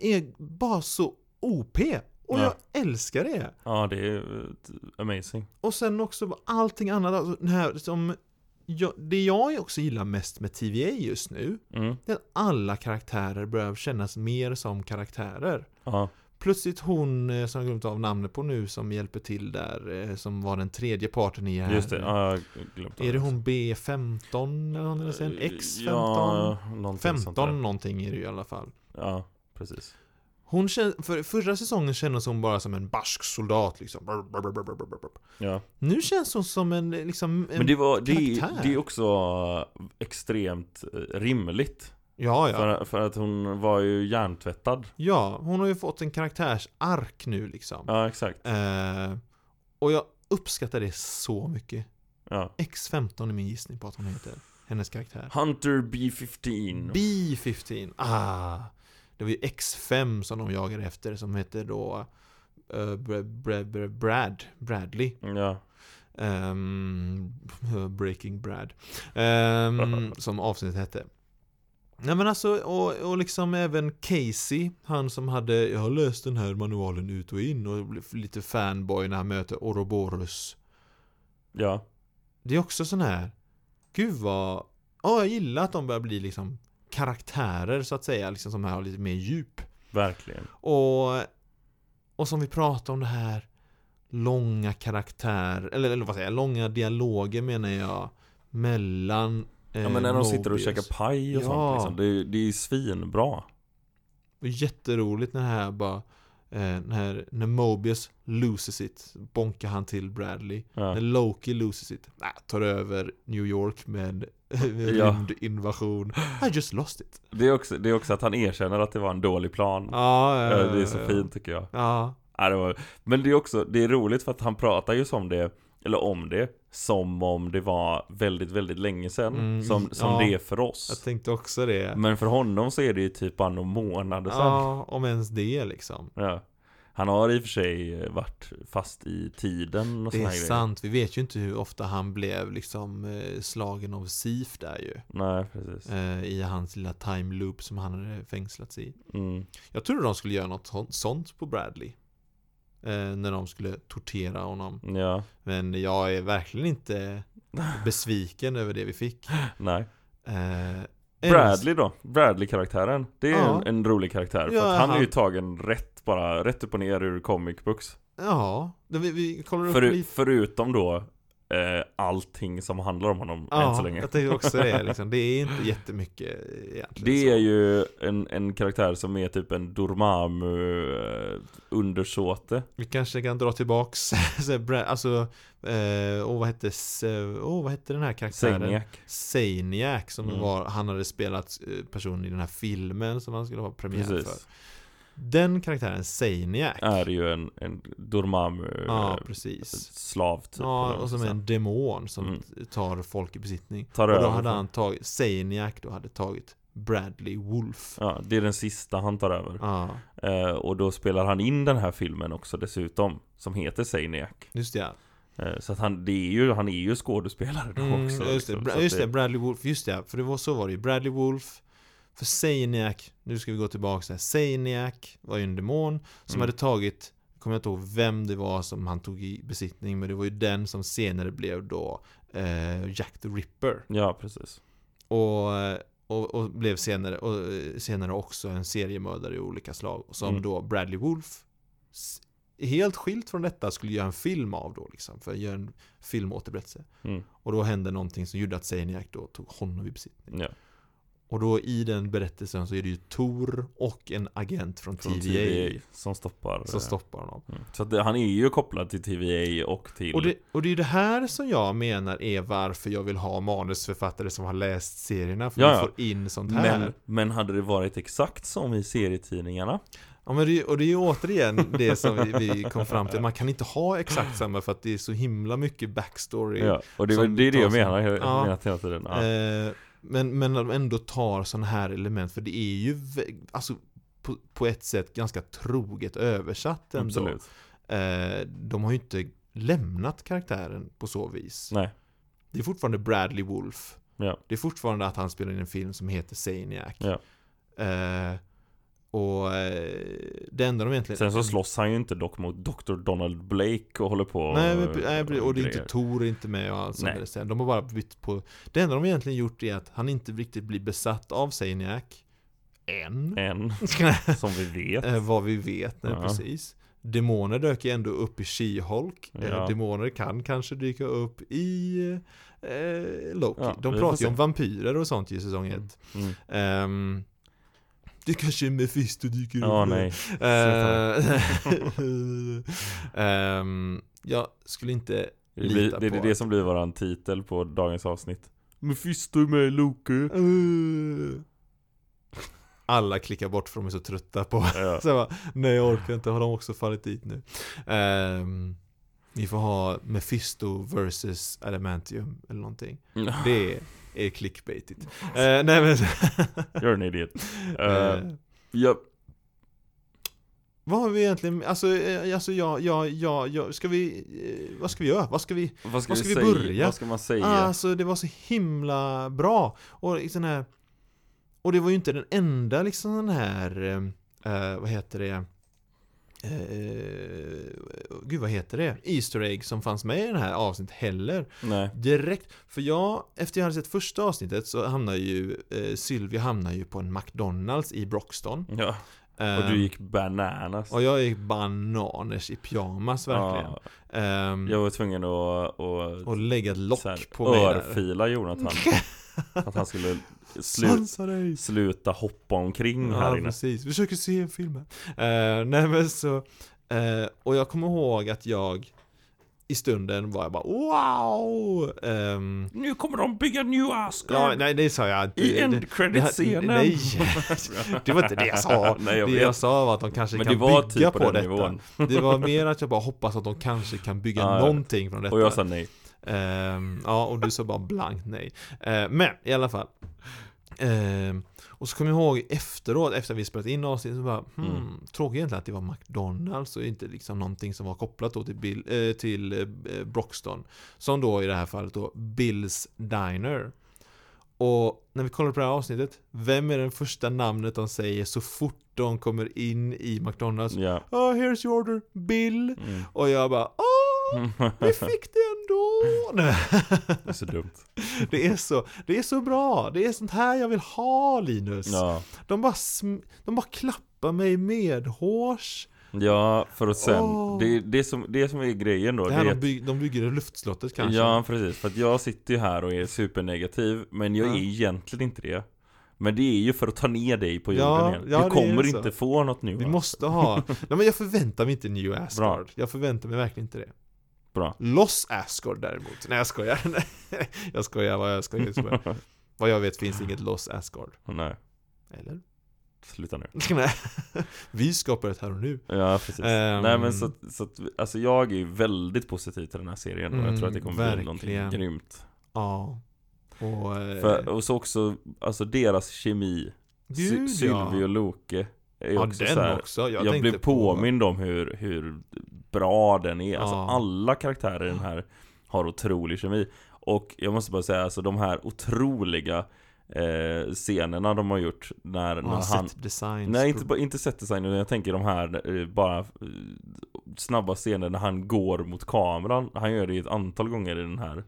[SPEAKER 2] eh, är bara så OP. Och
[SPEAKER 1] Ja.
[SPEAKER 2] jag älskar det.
[SPEAKER 1] ja det är eh, amazing.
[SPEAKER 2] Och sen också allting annat, alltså den här som, jag, det jag också gillar mest med TVA just nu,
[SPEAKER 1] Mm.
[SPEAKER 2] det är att alla karaktärer börjar kännas mer som karaktärer.
[SPEAKER 1] Ja,
[SPEAKER 2] Plötsligt hon eh, som jag glömt av namnet på nu som hjälper till där, eh, som var den tredje parten i här.
[SPEAKER 1] just det. Ja, jag har glömt
[SPEAKER 2] Är det hon B15 eller något sånt? X15?
[SPEAKER 1] Ja, någonting sånt
[SPEAKER 2] 15
[SPEAKER 1] där.
[SPEAKER 2] någonting är det ju i alla fall.
[SPEAKER 1] Ja, precis.
[SPEAKER 2] Hon känns, för förra säsongen kändes hon bara som en barsk soldat liksom. Brr, brr, brr, brr, brr, brr, brr.
[SPEAKER 1] Ja.
[SPEAKER 2] Nu känns hon som en liksom... En,
[SPEAKER 1] Men det, var, det,
[SPEAKER 2] karaktär.
[SPEAKER 1] det är också extremt eh, rimligt.
[SPEAKER 2] ja, ja.
[SPEAKER 1] För, för att hon var ju hjärntvättad.
[SPEAKER 2] Ja, hon har ju fått en karaktärsark nu liksom.
[SPEAKER 1] Ja, exakt.
[SPEAKER 2] Eh, och jag uppskattar det så mycket.
[SPEAKER 1] Ja.
[SPEAKER 2] X15 är min gissning på att hon heter. Hennes karaktär.
[SPEAKER 1] Hunter B-15.
[SPEAKER 2] B15. Ah! Det var ju X5 som de jagade efter som hette då eh, Br- Br- Br- Brad, Bradley.
[SPEAKER 1] ja.
[SPEAKER 2] Ehm, Breaking Brad. Ehm, som avsnittet hette. Nej men alltså, och, och liksom även Casey, han som hade, jag har läst den här manualen ut och in och blev lite fanboy när han möter Ouroboros.
[SPEAKER 1] Ja.
[SPEAKER 2] Det är också sån här, gud vad, ja jag gillar att de börjar bli liksom karaktärer så att säga, liksom som här har lite mer djup.
[SPEAKER 1] Verkligen.
[SPEAKER 2] Eh, Och, och som vi pratade om det här långa karaktär, eller, eller vad säger jag, långa dialoger menar jag mellan eh,
[SPEAKER 1] Ja men när de sitter och
[SPEAKER 2] Mobius.
[SPEAKER 1] käkar paj och
[SPEAKER 2] Ja.
[SPEAKER 1] sånt liksom. Det, det är ju svinbra.
[SPEAKER 2] Och jätteroligt när det här bara eh, när, när Mobius loses it, bonkar han till Bradley.
[SPEAKER 1] Ja.
[SPEAKER 2] När Loki loses it, nah, tar över New York med en
[SPEAKER 1] Ja.
[SPEAKER 2] rymdinvasion. I just lost it.
[SPEAKER 1] Det, är också, det är också att han erkänner att det var en dålig plan.
[SPEAKER 2] Ja, ja,
[SPEAKER 1] Eh, Det är
[SPEAKER 2] ja,
[SPEAKER 1] så
[SPEAKER 2] ja.
[SPEAKER 1] fint tycker jag.
[SPEAKER 2] Ja,
[SPEAKER 1] Ja, det var... Men det är också, det är roligt för att han pratar ju som det, eller om det, som om det var väldigt, väldigt länge sedan.
[SPEAKER 2] Mm,
[SPEAKER 1] som som
[SPEAKER 2] ja.
[SPEAKER 1] det är för
[SPEAKER 2] jag
[SPEAKER 1] oss.
[SPEAKER 2] tänkte också det.
[SPEAKER 1] Men för honom så är det ju typ bara några månader sedan. Ja.
[SPEAKER 2] Ja, om ens det liksom.
[SPEAKER 1] Han har i och för sig varit fast i tiden och
[SPEAKER 2] Det
[SPEAKER 1] såna
[SPEAKER 2] är
[SPEAKER 1] här grejer.
[SPEAKER 2] sant, vi vet ju inte hur ofta han blev liksom eh, slagen av SIF där ju.
[SPEAKER 1] Nej, precis.
[SPEAKER 2] Eh, I hans lilla time loop som han hade fängslats i.
[SPEAKER 1] Mm.
[SPEAKER 2] Jag trodde de skulle göra något sånt- sånt på Bradley. Eh, när de skulle tortera honom.
[SPEAKER 1] Ja,
[SPEAKER 2] Men jag är verkligen inte besviken över det vi fick.
[SPEAKER 1] nej.
[SPEAKER 2] Eh,
[SPEAKER 1] Bradley då? Bradley-karaktären. Det är
[SPEAKER 2] Ja.
[SPEAKER 1] en, en rolig karaktär. För
[SPEAKER 2] Ja,
[SPEAKER 1] att han är ju
[SPEAKER 2] han-
[SPEAKER 1] tagen rätt bara, rätt upp och ner ur comic books.
[SPEAKER 2] Ja, det- vi, vi kollar upp
[SPEAKER 1] Föru,
[SPEAKER 2] lite.
[SPEAKER 1] förutom då eh, allting som handlar om honom än så
[SPEAKER 2] Ja,
[SPEAKER 1] länge.
[SPEAKER 2] jag tänkte också det. Liksom. Det är inte jättemycket eh, egentligen.
[SPEAKER 1] Det
[SPEAKER 2] så.
[SPEAKER 1] är ju en, en karaktär som är typ en Dormammu eh, undersåte.
[SPEAKER 2] Vi kanske kan dra tillbaks, så här, Bra- alltså, eh, åh vad hette, s- eh, åh vad hette den här karaktären?
[SPEAKER 1] Zeniak.
[SPEAKER 2] Seiniac som
[SPEAKER 1] Mm.
[SPEAKER 2] var, han hade spelat eh, personen i den här filmen som han skulle ha premiär för.
[SPEAKER 1] Precis.
[SPEAKER 2] Den karaktären, Seiniac.
[SPEAKER 1] Är ju en, en Dormammu
[SPEAKER 2] Ja,
[SPEAKER 1] eh,
[SPEAKER 2] precis.
[SPEAKER 1] slav typ.
[SPEAKER 2] Ja,
[SPEAKER 1] eller vad
[SPEAKER 2] och som
[SPEAKER 1] man
[SPEAKER 2] är
[SPEAKER 1] ska
[SPEAKER 2] en demon som
[SPEAKER 1] Mm.
[SPEAKER 2] t- tar folk i besittning.
[SPEAKER 1] Tar
[SPEAKER 2] och då
[SPEAKER 1] över
[SPEAKER 2] hade
[SPEAKER 1] folk.
[SPEAKER 2] han tagit, Seiniac då hade tagit Bradley Wolf.
[SPEAKER 1] säga. Ja, det är den sista han tar över.
[SPEAKER 2] Ja,
[SPEAKER 1] Eh, och då spelar han in den här filmen också dessutom. Som heter Zeniak.
[SPEAKER 2] just det. ja.
[SPEAKER 1] Eh, så att han, det är ju, han är ju skådespelare då
[SPEAKER 2] Mm,
[SPEAKER 1] också.
[SPEAKER 2] just, det.
[SPEAKER 1] liksom. Så
[SPEAKER 2] Bra,
[SPEAKER 1] att
[SPEAKER 2] just det, Bradley Wolf, just det, för det var så var det ju. Bradley Wolf, för Seiniac, nu ska vi gå tillbaka här. Seiniac var ju en demon som
[SPEAKER 1] Mm.
[SPEAKER 2] hade tagit, kommer jag inte ihåg vem det var som han tog i besittning, men det var ju den som senare blev då eh, Jack the Ripper.
[SPEAKER 1] Ja, precis.
[SPEAKER 2] Och, och, och blev senare, och, eh, senare också en seriemördare i olika slag. Som
[SPEAKER 1] Mm.
[SPEAKER 2] då Bradley Wolf, s- helt skilt från detta, skulle göra en film av då liksom, för att göra en filmåterberättelse.
[SPEAKER 1] Mm.
[SPEAKER 2] Och då hände någonting som gjorde att Zaniac då tog honom i besittning.
[SPEAKER 1] Ja.
[SPEAKER 2] Och då i den berättelsen så är det ju Tor och en agent från,
[SPEAKER 1] Från
[SPEAKER 2] TVA,
[SPEAKER 1] TVA som stoppar.
[SPEAKER 2] som
[SPEAKER 1] eh,
[SPEAKER 2] stoppar honom.
[SPEAKER 1] Mm. Så att det, han är ju kopplad till TVA och till...
[SPEAKER 2] Och det, och det är ju det här som jag menar är varför jag vill ha manusförfattare som har läst serierna. För
[SPEAKER 1] Ja,
[SPEAKER 2] vi
[SPEAKER 1] ja.
[SPEAKER 2] får in sånt här.
[SPEAKER 1] men, men hade det varit exakt som i serietidningarna?
[SPEAKER 2] Ja, men det, och det är ju återigen det som vi, vi kom fram till. Man kan inte ha exakt samma för att det är så himla mycket backstory.
[SPEAKER 1] Ja, och det, är
[SPEAKER 2] Som
[SPEAKER 1] väl- det är det jag
[SPEAKER 2] tas-
[SPEAKER 1] menar, jag
[SPEAKER 2] Ja.
[SPEAKER 1] menat hela tiden. Ja.
[SPEAKER 2] Eh, men, men när de ändå tar sådana här element, för det är ju vä- alltså, på, på ett sätt ganska troget översatt ändå.
[SPEAKER 1] Absolut.
[SPEAKER 2] Eh, de har ju inte lämnat karaktären på så vis.
[SPEAKER 1] Nej.
[SPEAKER 2] Det är fortfarande Bradley Wolf.
[SPEAKER 1] Ja.
[SPEAKER 2] Det är fortfarande att han spelar in en film som heter Zaniac.
[SPEAKER 1] Ja.
[SPEAKER 2] Eh, och eh, det enda de egentligen...
[SPEAKER 1] Sen så slåss han ju inte dock mot Dr. Donald Blake och håller på och-
[SPEAKER 2] Nej, men, eh, nej, precis. och det är inte
[SPEAKER 1] grejer.
[SPEAKER 2] Tor är inte med och allt sånt
[SPEAKER 1] Nej.
[SPEAKER 2] där sen. De har bara bytt på... Det enda de egentligen gjort är att han inte riktigt blir besatt av Zaniac. Än.
[SPEAKER 1] Än, som vi vet.
[SPEAKER 2] Eh, vad vi vet, nej,
[SPEAKER 1] Ja.
[SPEAKER 2] precis. Demoner dök ju ändå upp i She-Hulk. Eh,
[SPEAKER 1] Ja.
[SPEAKER 2] Demoner kan kanske dyka upp i eh, Loki.
[SPEAKER 1] Ja,
[SPEAKER 2] De
[SPEAKER 1] vi
[SPEAKER 2] pratar
[SPEAKER 1] får
[SPEAKER 2] ju
[SPEAKER 1] se.
[SPEAKER 2] om vampyrer och sånt i säsong 1.
[SPEAKER 1] Mm.
[SPEAKER 2] Ehm, det kanske är Mephisto dyker
[SPEAKER 1] Ja,
[SPEAKER 2] upp.
[SPEAKER 1] nej.
[SPEAKER 2] Eh, ehm, jag skulle inte
[SPEAKER 1] Det, blir,
[SPEAKER 2] Lita
[SPEAKER 1] det är
[SPEAKER 2] på
[SPEAKER 1] det
[SPEAKER 2] att-
[SPEAKER 1] som blir våran titel på dagens avsnitt. Mephisto är med Loke.
[SPEAKER 2] Eh. Alla klickar bort för de är så trötta på
[SPEAKER 1] Ja.
[SPEAKER 2] så jag bara, Nej jag orkar inte, har de också fallit dit nu? Ehm, vi får ha Mephisto versus Adamantium eller någonting Det är clickbaitigt Eh, Nej men
[SPEAKER 1] You're an idiot. Eh,
[SPEAKER 2] Eh,
[SPEAKER 1] ja,
[SPEAKER 2] Vad har vi egentligen, alltså, eh, alltså ja, ja, ja, ja, ska vi, eh, vad ska vi göra? Vad ska vi,
[SPEAKER 1] vad ska,
[SPEAKER 2] Vad ska vi
[SPEAKER 1] vi säga?
[SPEAKER 2] börja?
[SPEAKER 1] Vad ska man säga?
[SPEAKER 2] alltså det var så himla bra och liksom den här, och det var ju inte den enda liksom den här, eh, eh, vad heter det, eh, gud vad heter det, Easter egg som fanns med i den här avsnittet heller.
[SPEAKER 1] Nej.
[SPEAKER 2] Direkt, för jag, efter jag hade sett första avsnittet så hamnar ju, eh, Sylvia hamnar ju på en McDonalds i Broxton.
[SPEAKER 1] Ja.
[SPEAKER 2] Eh,
[SPEAKER 1] Och du gick bananas.
[SPEAKER 2] och jag gick bananers i pyjamas verkligen.
[SPEAKER 1] Ja,
[SPEAKER 2] Ehm,
[SPEAKER 1] jag var tvungen att, att
[SPEAKER 2] och lägga ett
[SPEAKER 1] så här,
[SPEAKER 2] lock på mig där.
[SPEAKER 1] örfila Jonathan. Att han skulle slu-
[SPEAKER 2] Svansa dig!
[SPEAKER 1] sluta hoppa omkring Mm, här
[SPEAKER 2] Ja,
[SPEAKER 1] inne.
[SPEAKER 2] precis. Vi försöker se en film här. Eh, nej men så, eh, och jag kommer ihåg att jag i stunden var jag bara wow! Ehm,
[SPEAKER 1] Nu kommer de bygga New Asgard!
[SPEAKER 2] ja, nej det sa jag inte.
[SPEAKER 1] I
[SPEAKER 2] Det- det-
[SPEAKER 1] endcredit-scenen!
[SPEAKER 2] Nej, det var inte det jag sa.
[SPEAKER 1] Nej, jag
[SPEAKER 2] det
[SPEAKER 1] vet.
[SPEAKER 2] jag sa var att de kanske
[SPEAKER 1] Men det
[SPEAKER 2] kan
[SPEAKER 1] var
[SPEAKER 2] bygga
[SPEAKER 1] typ på,
[SPEAKER 2] på,
[SPEAKER 1] den
[SPEAKER 2] detta.
[SPEAKER 1] nivån.
[SPEAKER 2] Det var mer att jag bara hoppas att de kanske kan bygga
[SPEAKER 1] Ja, ja.
[SPEAKER 2] någonting från detta.
[SPEAKER 1] Och jag sa nej.
[SPEAKER 2] Ehm, ja, och du sa bara blankt nej. Ehm, men i alla fall. Ehm, och så kommer jag ihåg efteråt, efter vi spelat in avsnittet, så bara hmm,
[SPEAKER 1] Mm.
[SPEAKER 2] Tråkigt egentligen att det var McDonalds och inte liksom någonting som var kopplat då till, Bill, eh, till eh, Broxton. Som då i det här fallet då Bills Diner. Och när vi kollar på det här avsnittet, vem är det första namnet de säger så fort de kommer in i McDonalds?
[SPEAKER 1] Ja.
[SPEAKER 2] Oh, here's your order, Bill.
[SPEAKER 1] Mm.
[SPEAKER 2] Och jag bara åh! Vi fick det ändå! Nej,
[SPEAKER 1] det är så dumt.
[SPEAKER 2] Det är så, det är så bra! Det är sånt här jag vill ha Linus!
[SPEAKER 1] Ja.
[SPEAKER 2] De, bara sm- de bara klappar mig medhårs.
[SPEAKER 1] ja, för att sen...
[SPEAKER 2] Åh.
[SPEAKER 1] Det, det, som, det som är grejen då.
[SPEAKER 2] Det här
[SPEAKER 1] det är
[SPEAKER 2] de, byg- de bygger i luftslottet kanske.
[SPEAKER 1] Ja, precis. För att jag sitter ju här och är supernegativ, men jag
[SPEAKER 2] Ja.
[SPEAKER 1] är egentligen inte det. Men det är ju för att ta ner dig på jorden
[SPEAKER 2] Ja,
[SPEAKER 1] igen.
[SPEAKER 2] ja, det är
[SPEAKER 1] du kommer
[SPEAKER 2] ju så.
[SPEAKER 1] inte få något nu.
[SPEAKER 2] Vi
[SPEAKER 1] va?
[SPEAKER 2] måste ha... Nej men jag förväntar mig inte New Asgard. Jag förväntar mig verkligen inte det.
[SPEAKER 1] Bra.
[SPEAKER 2] Loss Asgard däremot. Nej jag skojar. Nej, jag skojar vad jag skojar. Jag skojar. vad jag vet finns inget Loss Asgard.
[SPEAKER 1] Nej,
[SPEAKER 2] Eller?
[SPEAKER 1] sluta nu.
[SPEAKER 2] Nej. Vi skapar ett här och nu.
[SPEAKER 1] Ja, precis.
[SPEAKER 2] Ehm.
[SPEAKER 1] Nej, men så, att- så att, alltså jag är ju väldigt positiv till den här serien och jag tror att det
[SPEAKER 2] Mm,
[SPEAKER 1] kommer bli
[SPEAKER 2] verkligen.
[SPEAKER 1] någonting grymt.
[SPEAKER 2] Ja. Och... eh,
[SPEAKER 1] För, och så också, alltså deras kemi. Sy-
[SPEAKER 2] Gud, ja.
[SPEAKER 1] Sylvie och Loke. Är
[SPEAKER 2] Ja,
[SPEAKER 1] också
[SPEAKER 2] den
[SPEAKER 1] så här,
[SPEAKER 2] också. Jag,
[SPEAKER 1] Jag,
[SPEAKER 2] tänkte
[SPEAKER 1] blev
[SPEAKER 2] på-
[SPEAKER 1] påmind om hur, hur bra den är. Alltså
[SPEAKER 2] Ja.
[SPEAKER 1] alla karaktärer i den här har otrolig kemi. Och jag måste bara säga, alltså de här otroliga eh, scenerna de har gjort när,
[SPEAKER 2] Ja,
[SPEAKER 1] när han...
[SPEAKER 2] set design.
[SPEAKER 1] Nej, inte, bara- inte setdesign, utan jag tänker de här eh, bara eh, snabba scener när han går mot kameran. Han gör det ett antal gånger i den här.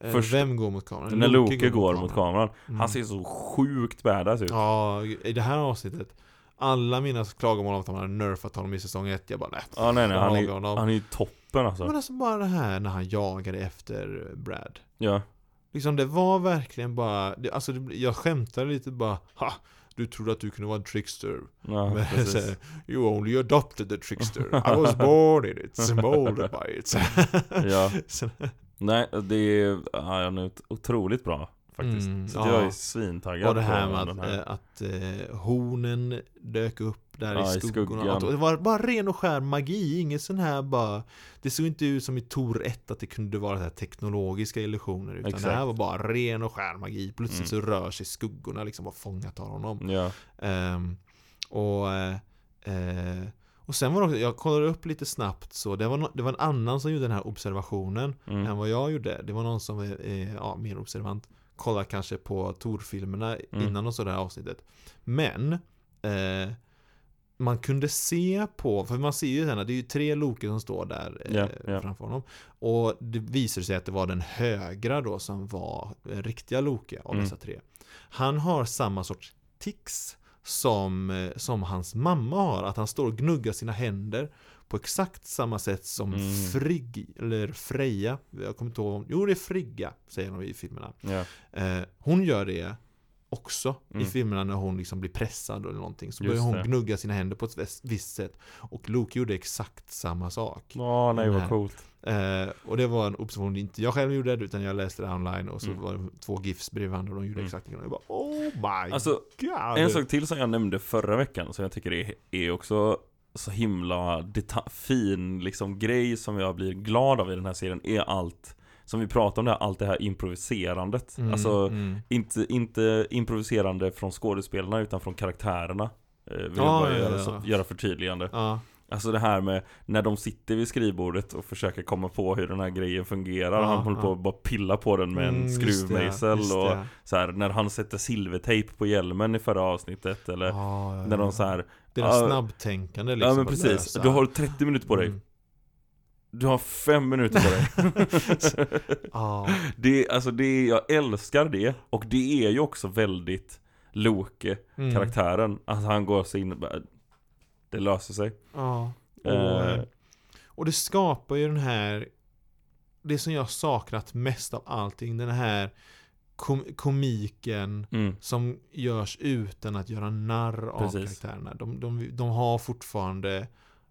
[SPEAKER 2] Eh,
[SPEAKER 1] först-
[SPEAKER 2] Vem går mot kameran?
[SPEAKER 1] när Loke går mot kameran.
[SPEAKER 2] Mm.
[SPEAKER 1] Han ser så sjukt badass ut.
[SPEAKER 2] Ja, i det här avsnittet. Alla mina klagomål om att de hade nerfat honom i säsong 1. Jag bara nej.
[SPEAKER 1] Ja, nej, nej, han är,
[SPEAKER 2] jaga honom.
[SPEAKER 1] han är ju toppen alltså.
[SPEAKER 2] Men alltså bara det här när han jagade efter Brad.
[SPEAKER 1] Ja.
[SPEAKER 2] Liksom det var verkligen bara, det, alltså det, jag skämtade lite bara ha, du trodde att du kunde vara en trickster.
[SPEAKER 1] Ja,
[SPEAKER 2] Men så
[SPEAKER 1] precis.
[SPEAKER 2] här, you only adopted the trickster. I was born in it, molded by it.
[SPEAKER 1] Ja.
[SPEAKER 2] Så-
[SPEAKER 1] Nej, det är, ja, han är otroligt bra faktiskt.
[SPEAKER 2] Mm,
[SPEAKER 1] så att jag
[SPEAKER 2] ja.
[SPEAKER 1] är svintaggad
[SPEAKER 2] Och det här
[SPEAKER 1] på
[SPEAKER 2] med
[SPEAKER 1] den
[SPEAKER 2] att, eh, att eh, hornen dök upp där
[SPEAKER 1] Ja, i
[SPEAKER 2] i skuggorna.
[SPEAKER 1] skuggan.
[SPEAKER 2] Att- och Det var bara ren och skär magi, inget sån här bara Det såg inte ut som i Tor 1 att det kunde vara så här teknologiska illusioner utan det
[SPEAKER 1] Exakt. Mm.
[SPEAKER 2] här var bara ren och skär magi. Plötsligt så rör sig skuggorna liksom och fångat av honom.
[SPEAKER 1] Ja,
[SPEAKER 2] Ehm, och, eh, eh, och sen var det också, jag kollade upp lite snabbt så det var, nå- det var en annan som gjorde den här observationen
[SPEAKER 1] mm,
[SPEAKER 2] än vad jag gjorde. Det var någon som är, är ja, mer observant. Kollar kanske på Tor-filmerna
[SPEAKER 1] Mm.
[SPEAKER 2] innan och så det här avsnittet. Men eh, man kunde se på, för man ser ju den här, det är ju tre Loke som står där eh,
[SPEAKER 1] Ja, ja.
[SPEAKER 2] framför honom. Och det visar sig att det var den högra då som var eh, riktiga Loke av
[SPEAKER 1] Mm.
[SPEAKER 2] dessa tre. Han har samma sorts tics som, eh, som hans mamma har, att han står och gnuggar sina händer på exakt samma sätt som
[SPEAKER 1] Mm.
[SPEAKER 2] Frigg, eller Freja, jag kommer inte ihåg om, jo det är Frigga säger de i filmerna.
[SPEAKER 1] ja,
[SPEAKER 2] Eh, hon gör det också i
[SPEAKER 1] Mm.
[SPEAKER 2] filmerna när hon liksom blir pressad eller någonting. Så
[SPEAKER 1] Just
[SPEAKER 2] börjar hon
[SPEAKER 1] det.
[SPEAKER 2] gnugga sina händer på ett vis- visst sätt. Och Luke gjorde exakt samma sak.
[SPEAKER 1] Åh, nej
[SPEAKER 2] här.
[SPEAKER 1] vad coolt.
[SPEAKER 2] Eh, och det var en observation inte jag själv gjorde utan jag läste det online och så
[SPEAKER 1] Mm.
[SPEAKER 2] var det två GIFs bredvid varandra och de gjorde
[SPEAKER 1] Mm.
[SPEAKER 2] exakt likadant. Jag bara oh my
[SPEAKER 1] Alltså,
[SPEAKER 2] god!
[SPEAKER 1] en sak till som jag nämnde förra veckan som jag tycker är, är också så himla deta- fin liksom grej som jag blir glad av i den här serien är allt som vi pratar om det här, allt det här improviserandet.
[SPEAKER 2] Mm,
[SPEAKER 1] alltså,
[SPEAKER 2] mm.
[SPEAKER 1] Inte, inte improviserande från skådespelarna utan från karaktärerna. Eh, Vill jag
[SPEAKER 2] Ja,
[SPEAKER 1] bara
[SPEAKER 2] ja,
[SPEAKER 1] göra,
[SPEAKER 2] ja.
[SPEAKER 1] så- göra förtydligande.
[SPEAKER 2] Ja,
[SPEAKER 1] Alltså det här med när de sitter vid skrivbordet och försöker komma på hur den här grejen fungerar.
[SPEAKER 2] Ja,
[SPEAKER 1] han håller på
[SPEAKER 2] ja.
[SPEAKER 1] att bara pilla på den med en
[SPEAKER 2] Mm, just det,
[SPEAKER 1] skruvmejsel.
[SPEAKER 2] just
[SPEAKER 1] Och
[SPEAKER 2] det.
[SPEAKER 1] så här, när han sätter silvertejp på hjälmen i förra avsnittet. Eller
[SPEAKER 2] Ja, ja,
[SPEAKER 1] när de
[SPEAKER 2] ja.
[SPEAKER 1] så här,
[SPEAKER 2] Det är det
[SPEAKER 1] Ja,
[SPEAKER 2] snabbtänkande liksom.
[SPEAKER 1] ja men
[SPEAKER 2] att
[SPEAKER 1] precis.
[SPEAKER 2] lösa.
[SPEAKER 1] Du har 30 minuter på dig.
[SPEAKER 2] Mm.
[SPEAKER 1] Du har 5 minuter på dig.
[SPEAKER 2] Ja,
[SPEAKER 1] det, alltså det, jag älskar det. Och det är ju också väldigt Loke
[SPEAKER 2] mm.
[SPEAKER 1] karaktären. Att han går så in och bara, det löser sig.
[SPEAKER 2] Ja. Och,
[SPEAKER 1] Eh.
[SPEAKER 2] och det skapar ju den här, det som jag saknat mest av allting, den här kom komiken
[SPEAKER 1] Mm.
[SPEAKER 2] som görs utan att göra narr av
[SPEAKER 1] Precis.
[SPEAKER 2] karaktärerna. De, de, de har fortfarande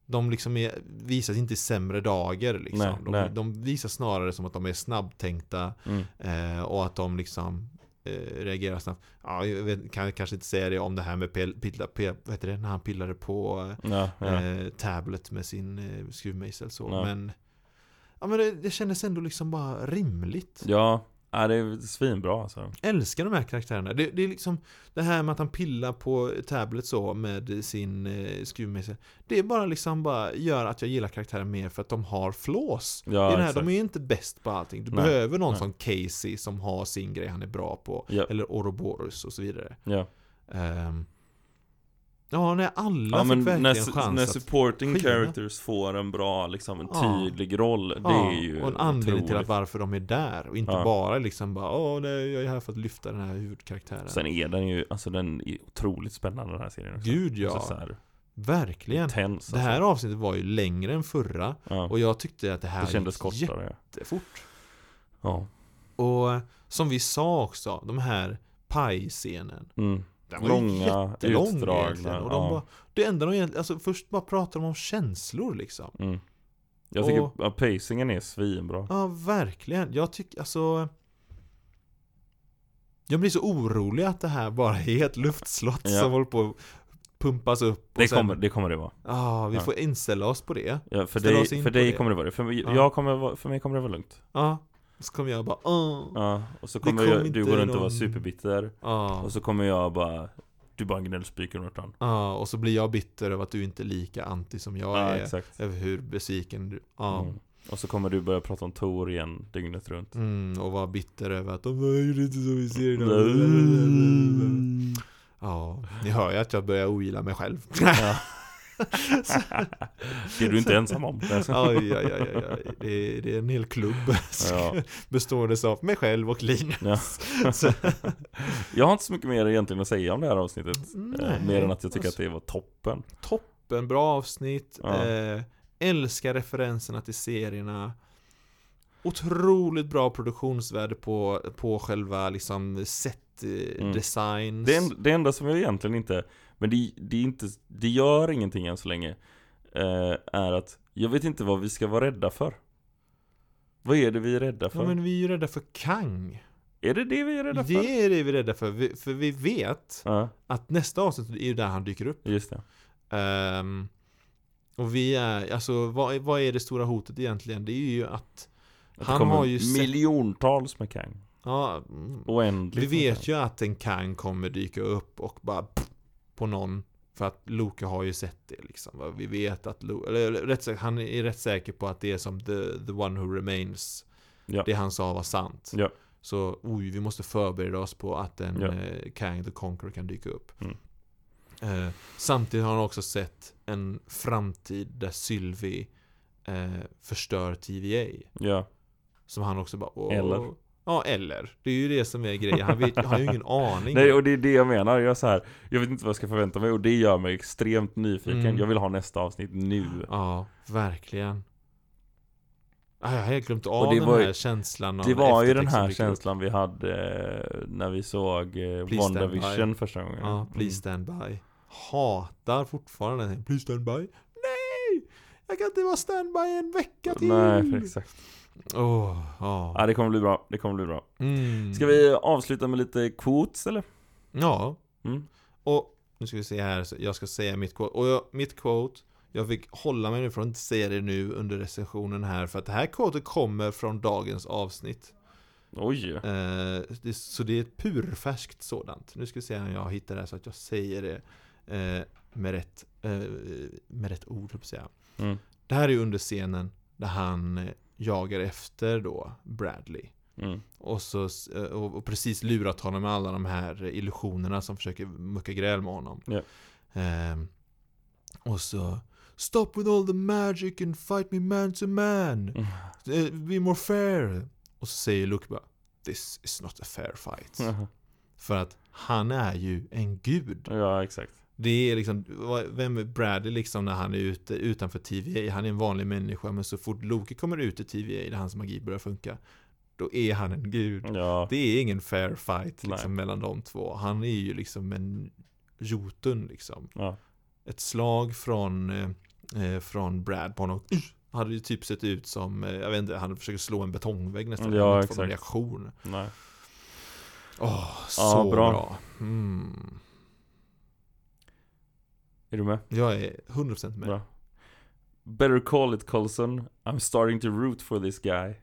[SPEAKER 2] de liksom är, visas inte i sämre dagar liksom.
[SPEAKER 1] Nej,
[SPEAKER 2] de,
[SPEAKER 1] nej.
[SPEAKER 2] de visas snarare som att de är snabbtänkta
[SPEAKER 1] Mm.
[SPEAKER 2] eh, och att de liksom eh, reagerar snabbt. Ja, jag vet, kan jag kanske inte säga det om det här med pel- pilla, pe- vad heter det, när han pillade på eh,
[SPEAKER 1] Ja, ja.
[SPEAKER 2] eh, tablet med sin eh, skruvmejsel så.
[SPEAKER 1] Ja.
[SPEAKER 2] Men, ja, men det, det kändes ändå liksom bara rimligt.
[SPEAKER 1] ja. ja, det är svinbra alltså.
[SPEAKER 2] Älskar de här karaktärerna. Det, det är liksom det här med att han pillar på tablet så med sin eh, skruvmejsel. Det är bara liksom bara gör att jag gillar karaktärer mer för att de har flås.
[SPEAKER 1] Ja,
[SPEAKER 2] det är det här,
[SPEAKER 1] exakt.
[SPEAKER 2] de är ju inte bäst på allting. Du
[SPEAKER 1] Nej,
[SPEAKER 2] behöver någon
[SPEAKER 1] nej.
[SPEAKER 2] som Casey som har sin grej han är bra på.
[SPEAKER 1] Ja.
[SPEAKER 2] Eller Ouroboros och så vidare.
[SPEAKER 1] Ja.
[SPEAKER 2] Ehm. ja, när alla
[SPEAKER 1] Ja,
[SPEAKER 2] fick
[SPEAKER 1] men
[SPEAKER 2] verkligen
[SPEAKER 1] när, när
[SPEAKER 2] chans att
[SPEAKER 1] supporting
[SPEAKER 2] skina.
[SPEAKER 1] characters får en bra, liksom en
[SPEAKER 2] Ja.
[SPEAKER 1] tydlig roll, det
[SPEAKER 2] Ja,
[SPEAKER 1] är ju
[SPEAKER 2] och en anledning till att
[SPEAKER 1] otroligt.
[SPEAKER 2] varför de är där. Och inte
[SPEAKER 1] Ja.
[SPEAKER 2] bara liksom bara Åh, nej, jag är här för att lyfta den här huvudkaraktären.
[SPEAKER 1] Sen är den ju, alltså den är otroligt spännande den här serien också.
[SPEAKER 2] Gud ja,
[SPEAKER 1] Alltså, så här,
[SPEAKER 2] verkligen.
[SPEAKER 1] Tens
[SPEAKER 2] Det här
[SPEAKER 1] alltså.
[SPEAKER 2] avsnittet var ju längre än förra
[SPEAKER 1] ja.
[SPEAKER 2] och jag tyckte att det här
[SPEAKER 1] Det kändes
[SPEAKER 2] gick
[SPEAKER 1] kortare.
[SPEAKER 2] jättefort.
[SPEAKER 1] Ja.
[SPEAKER 2] Och eh, som vi sa också, de här pajscenen.
[SPEAKER 1] Mm.
[SPEAKER 2] Den var ju
[SPEAKER 1] Långa,
[SPEAKER 2] jättelång egentligen.
[SPEAKER 1] utdragna.
[SPEAKER 2] Och de
[SPEAKER 1] ja.
[SPEAKER 2] bara, det enda de egentligen, alltså först bara pratar de om känslor liksom.
[SPEAKER 1] mm. Jag tycker
[SPEAKER 2] och-
[SPEAKER 1] att pacingen är svinbra.
[SPEAKER 2] Ja, verkligen. Jag tycker, alltså... Jag blir så orolig att det här bara är ett luftslott
[SPEAKER 1] Ja.
[SPEAKER 2] som håller på att pumpas upp. och
[SPEAKER 1] Det
[SPEAKER 2] sen-
[SPEAKER 1] kommer, det kommer det vara.
[SPEAKER 2] Ja, vi
[SPEAKER 1] Ja.
[SPEAKER 2] får inställa oss på det.
[SPEAKER 1] Ja, för
[SPEAKER 2] Ställa
[SPEAKER 1] dig,
[SPEAKER 2] oss in
[SPEAKER 1] för
[SPEAKER 2] på
[SPEAKER 1] dig
[SPEAKER 2] det.
[SPEAKER 1] kommer det vara det. För, mig-
[SPEAKER 2] Ja.
[SPEAKER 1] jag kommer, vara- för mig kommer det vara lugnt.
[SPEAKER 2] Ja. Så kommer jag bara, åh.
[SPEAKER 1] Ja. Och så kommer
[SPEAKER 2] kom
[SPEAKER 1] jag, du
[SPEAKER 2] inte
[SPEAKER 1] gå runt och vara
[SPEAKER 2] någon-
[SPEAKER 1] superbitter.
[SPEAKER 2] Ja.
[SPEAKER 1] Och så kommer jag bara, du bara gnällspyker åt honom.
[SPEAKER 2] Ja, och så blir jag bitter över att du inte är lika anti som jag
[SPEAKER 1] Ja,
[SPEAKER 2] är.
[SPEAKER 1] exakt.
[SPEAKER 2] Över hur besviken du... Ja.
[SPEAKER 1] Mm. Och så kommer du börja prata om Tor igen dygnet runt.
[SPEAKER 2] Mm, och vara bitter över att de "Jag gjorde inte som vi ser idag.
[SPEAKER 1] Mm.
[SPEAKER 2] Ja, ni hör ju att jag börjar ogilla mig själv.
[SPEAKER 1] Det är du inte ensam om.
[SPEAKER 2] Aj, aj, aj, aj, aj. Det, är, det är en hel klubb
[SPEAKER 1] Ja.
[SPEAKER 2] bestående av mig själv och Linus.
[SPEAKER 1] Ja.
[SPEAKER 2] Så-
[SPEAKER 1] Jag har inte så mycket mer egentligen att säga om det här avsnittet.
[SPEAKER 2] Nej.
[SPEAKER 1] Eh, Mer än att jag tycker att det var toppen.
[SPEAKER 2] Toppen, bra avsnitt.
[SPEAKER 1] Ja.
[SPEAKER 2] Eh, älskar referenserna till serierna. Otroligt bra produktionsvärde på, på själva liksom set eh,
[SPEAKER 1] Mm.
[SPEAKER 2] designs.
[SPEAKER 1] Det, en, det enda som jag egentligen inte, men det, det, är inte, det gör ingenting än så länge, eh, är att jag vet inte vad vi ska vara rädda för. Vad är det vi är rädda för?
[SPEAKER 2] ja, men vi är ju rädda för Kang.
[SPEAKER 1] Är det det vi är rädda för?
[SPEAKER 2] Det är det vi är rädda för. Vi, för vi vet
[SPEAKER 1] Ja,
[SPEAKER 2] att nästa avsnitt är ju där han dyker upp.
[SPEAKER 1] just det.
[SPEAKER 2] Ehm, och vi är, alltså vad, är- vad är det stora hotet egentligen? Det är ju att,
[SPEAKER 1] Att det
[SPEAKER 2] Han
[SPEAKER 1] kommer
[SPEAKER 2] har ju sett-
[SPEAKER 1] miljontals med Kang.
[SPEAKER 2] ja, mm,
[SPEAKER 1] Oändligt
[SPEAKER 2] vi
[SPEAKER 1] med
[SPEAKER 2] vet
[SPEAKER 1] Kang.
[SPEAKER 2] ju att en Kang kommer dyka upp och bara pff, på någon. För att Loke har ju sett det liksom. va? Vi vet att Luke, eller eller rätt sagt, han är rätt säker på att det är som the, the one who remains.
[SPEAKER 1] Ja.
[SPEAKER 2] Det han sa var sant.
[SPEAKER 1] Ja.
[SPEAKER 2] Så oj, vi måste förbereda oss på att en
[SPEAKER 1] Ja.
[SPEAKER 2] eh, Kang the Conqueror kan dyka upp.
[SPEAKER 1] Mm.
[SPEAKER 2] Eh, samtidigt har han också sett en framtid där Sylvie eh, förstör TVA.
[SPEAKER 1] Ja,
[SPEAKER 2] Som han också bara "Åh."
[SPEAKER 1] Eller?
[SPEAKER 2] Ja, eller. Det är ju det som är grejen. Han vet, har ju ingen aning.
[SPEAKER 1] nej och det är det jag menar. Jag, är så här, jag vet inte vad jag ska förvänta mig och det gör mig extremt nyfiken.
[SPEAKER 2] Mm.
[SPEAKER 1] Jag vill ha nästa avsnitt nu.
[SPEAKER 2] Ja, verkligen. Ah, Jag har helt glömt av
[SPEAKER 1] Och det
[SPEAKER 2] den
[SPEAKER 1] var ju-
[SPEAKER 2] här känslan av
[SPEAKER 1] Det var ju
[SPEAKER 2] eftertext
[SPEAKER 1] den
[SPEAKER 2] som
[SPEAKER 1] här
[SPEAKER 2] dyker upp.
[SPEAKER 1] känslan vi hade eh, när vi såg eh,
[SPEAKER 2] Please stand
[SPEAKER 1] WandaVision första gången.
[SPEAKER 2] Ja, please
[SPEAKER 1] Mm.
[SPEAKER 2] stand by. Hatar fortfarande den. här, Please stand by. Nej! Jag kan inte vara standby en vecka till!
[SPEAKER 1] Nej, för exakt.
[SPEAKER 2] Åh, ja.
[SPEAKER 1] Ja, det kommer bli bra. Det kommer bli bra.
[SPEAKER 2] Mm.
[SPEAKER 1] Ska vi avsluta med lite quotes eller?
[SPEAKER 2] Ja.
[SPEAKER 1] Mm.
[SPEAKER 2] Och nu ska vi se här. så Jag ska säga mitt quote. Och jag, mitt quote. Jag fick hålla mig nu från att inte säga det nu under recensionen här. För att det här quotet kommer från dagens avsnitt.
[SPEAKER 1] Oj.
[SPEAKER 2] Eh, det, så det är ett purfärskt sådant. Nu ska vi se om jag hittar det här så att jag säger det eh, med, rätt, eh, med rätt ord, höll jag på att säga.
[SPEAKER 1] Mm.
[SPEAKER 2] Det här är ju under scenen där han eh, jagar efter då Bradley.
[SPEAKER 1] Mm.
[SPEAKER 2] Och, så, s- eh, och och precis lurat honom med alla de här eh, illusionerna som försöker mucka gräl med honom.
[SPEAKER 1] Ja.
[SPEAKER 2] Ehm, och så Stop with all the magic and fight me man to man.
[SPEAKER 1] Mm.
[SPEAKER 2] Eh, Be more fair. Och så säger Luke bara This is not a fair fight.
[SPEAKER 1] Mm.
[SPEAKER 2] För att han är ju en gud.
[SPEAKER 1] Ja, exakt.
[SPEAKER 2] Det är liksom, vad- vem är Bradley liksom när han är ute utanför TVA? Han är en vanlig människa men så fort Loke kommer ut i TVA där hans magi börjar funka då är han en gud.
[SPEAKER 1] Ja,
[SPEAKER 2] Det är ingen fair fight
[SPEAKER 1] Nej.
[SPEAKER 2] liksom, mellan de två. Han är ju liksom en Jotun liksom.
[SPEAKER 1] ja.
[SPEAKER 2] Ett slag från, eh, eh, från Brad på honom "Usch!" hade ju typ sett ut som, eh, jag vet inte, han försöker slå en betongvägg nästan.
[SPEAKER 1] Ja,
[SPEAKER 2] han inte får någon
[SPEAKER 1] exakt.
[SPEAKER 2] reaktion.
[SPEAKER 1] Nej. Ja,
[SPEAKER 2] Åh, så
[SPEAKER 1] bra.
[SPEAKER 2] bra. Mm.
[SPEAKER 1] Är du med?
[SPEAKER 2] Jag är 100% med.
[SPEAKER 1] Bra. Better call it Colson. I'm starting to root for this guy.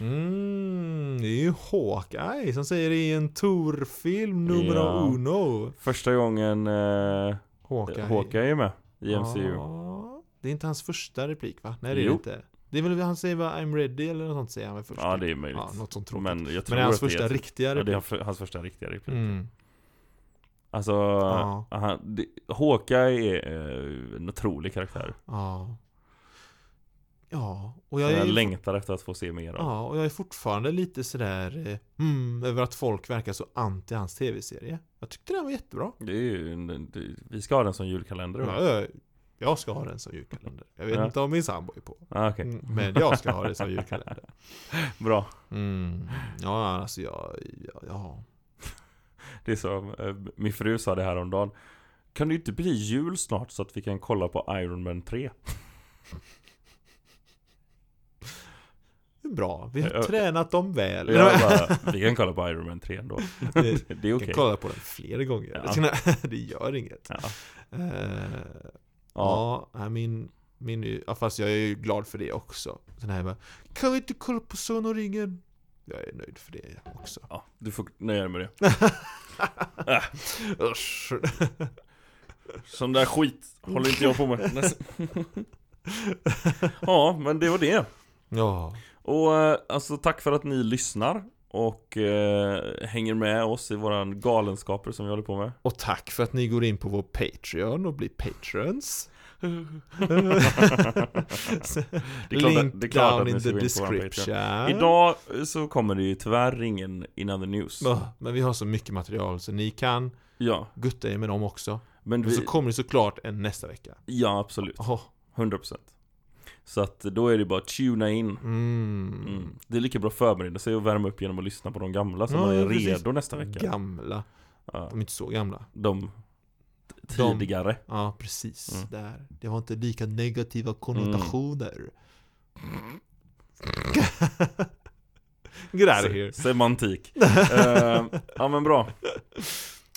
[SPEAKER 2] Mm, det är ju Hawkeye som säger det i en Tor-film nummer
[SPEAKER 1] Ja.
[SPEAKER 2] uno.
[SPEAKER 1] Första gången eh,
[SPEAKER 2] Hawkeye.
[SPEAKER 1] Hawkeye är med i MCU.
[SPEAKER 2] Ja, Ah, det är inte hans första replik va? Nej det är
[SPEAKER 1] Jo.
[SPEAKER 2] det inte. Det är väl han säger bara I'm ready eller något sånt säger han väl först.
[SPEAKER 1] Ja, det är möjligt.
[SPEAKER 2] ja, något sånt tråkigt. Men,
[SPEAKER 1] men jag tror
[SPEAKER 2] det är hans
[SPEAKER 1] att det
[SPEAKER 2] första
[SPEAKER 1] är,
[SPEAKER 2] riktiga
[SPEAKER 1] ja, det
[SPEAKER 2] replik.
[SPEAKER 1] är hans- hans första riktiga replik.
[SPEAKER 2] Mm.
[SPEAKER 1] Alltså,
[SPEAKER 2] Ja.
[SPEAKER 1] han, det, Hawkeye är eh, en otrolig karaktär.
[SPEAKER 2] Ja. Ja, och jag
[SPEAKER 1] Jag,
[SPEAKER 2] är ju
[SPEAKER 1] längtar efter att få se mer av.
[SPEAKER 2] Ja, och jag är fortfarande lite sådär eh, mm, över att folk verkar så anti hans tv-serie. Jag tyckte den var jättebra.
[SPEAKER 1] Det är ju, en- det, vi ska ha den som julkalender. va?
[SPEAKER 2] Ja, jag, jag ska ha den som julkalender. Jag vet
[SPEAKER 1] Mm. Ja.
[SPEAKER 2] inte om min sambo är på.
[SPEAKER 1] Ah, Okej,
[SPEAKER 2] Mm, Men jag ska ha det som julkalender.
[SPEAKER 1] bra.
[SPEAKER 2] Mm. Ja, alltså jag... Ja, ja.
[SPEAKER 1] Det är som eh, min fru sa det här om dagen. Kan det inte bli jul snart så att vi kan kolla på Iron Man 3?
[SPEAKER 2] Det är bra. Vi har
[SPEAKER 1] Ja.
[SPEAKER 2] tränat dem väl.
[SPEAKER 1] Och Jag bara, vi kan kolla på Iron Man 3 ändå.
[SPEAKER 2] Vi
[SPEAKER 1] Det är
[SPEAKER 2] kan
[SPEAKER 1] okej.
[SPEAKER 2] kolla på den fler gånger.
[SPEAKER 1] Ja.
[SPEAKER 2] Så, Det gör inget.
[SPEAKER 1] Ja.
[SPEAKER 2] Eh,
[SPEAKER 1] Ja.
[SPEAKER 2] ja, nej, min... Min, är ju- ja, fast jag är ju glad för det också. Den här bara, kan vi inte kolla på Sonoringen? Jag är nöjd för det också.
[SPEAKER 1] ja, du får nöja dig med det.
[SPEAKER 2] Usch.
[SPEAKER 1] Sån där skit håller inte jag på med. Ja, men det var det.
[SPEAKER 2] Ja.
[SPEAKER 1] Och eh, alltså tack för att ni lyssnar och eh, hänger med oss i våran galenskaper som vi håller på med.
[SPEAKER 2] Och tack för att ni går in på vår Patreon och blir patrons.
[SPEAKER 1] Det är klart att-
[SPEAKER 2] Link
[SPEAKER 1] det är klart
[SPEAKER 2] down
[SPEAKER 1] att ni
[SPEAKER 2] in
[SPEAKER 1] ska
[SPEAKER 2] the
[SPEAKER 1] gå in på vår
[SPEAKER 2] description.
[SPEAKER 1] Idag eh, så kommer det ju tyvärr ingen innan the news.
[SPEAKER 2] Ja, Men vi har så mycket material så ni kan
[SPEAKER 1] Ja,
[SPEAKER 2] gutta er med dem också.
[SPEAKER 1] men
[SPEAKER 2] Och så
[SPEAKER 1] vi...
[SPEAKER 2] kommer det såklart en nästa vecka.
[SPEAKER 1] Ja, absolut.
[SPEAKER 2] Jaha.
[SPEAKER 1] 100%. Så att då är det bara att tuna in.
[SPEAKER 2] Mm.
[SPEAKER 1] Mm. Det är lika bra att förbereda sig och värma upp genom att lyssna på de gamla så
[SPEAKER 2] Ja,
[SPEAKER 1] man är
[SPEAKER 2] ja, precis.
[SPEAKER 1] redo nästa vecka.
[SPEAKER 2] Gamla.
[SPEAKER 1] Ja,
[SPEAKER 2] De är inte så gamla.
[SPEAKER 1] de t- tidigare.
[SPEAKER 2] Ja, precis.
[SPEAKER 1] Mm.
[SPEAKER 2] Där. Det har inte lika negativa konnotationer. Get out of here.
[SPEAKER 1] Se- Semantik. Eh, ja men bra.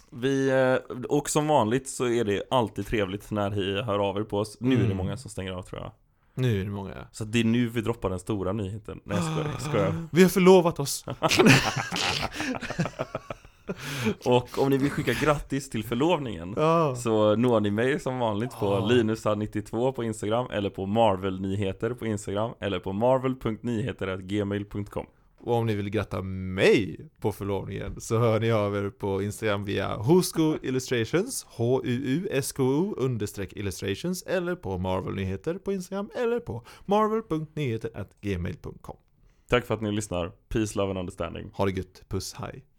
[SPEAKER 1] Vi, eh, och som vanligt så är det alltid trevligt när ni hör av er på oss. Nu är det
[SPEAKER 2] Mm.
[SPEAKER 1] många som stänger av tror jag.
[SPEAKER 2] Nu är det många.
[SPEAKER 1] Så det är nu vi droppar den stora nyheten. Nej jag skojar, jag skojar.
[SPEAKER 2] Vi har förlovat oss. Ah.
[SPEAKER 1] Och om ni vill skicka grattis till förlovningen
[SPEAKER 2] Ja.
[SPEAKER 1] så når ni mig som vanligt på
[SPEAKER 2] Ah.
[SPEAKER 1] linusa92 på Instagram eller på marvelnyheter på Instagram eller på marvel.nyheter.gmail.com
[SPEAKER 2] Och om ni vill gratta mig på förlovningen så hör ni av er på Instagram via Husko Illustrations, H-U-U-S-K-O understreck illustrations eller på Marvel Nyheter på Instagram eller på marvel.nyheter@gmail.com.
[SPEAKER 1] Tack för att ni lyssnar. Peace, love and understanding.
[SPEAKER 2] Ha det gött, puss, hej.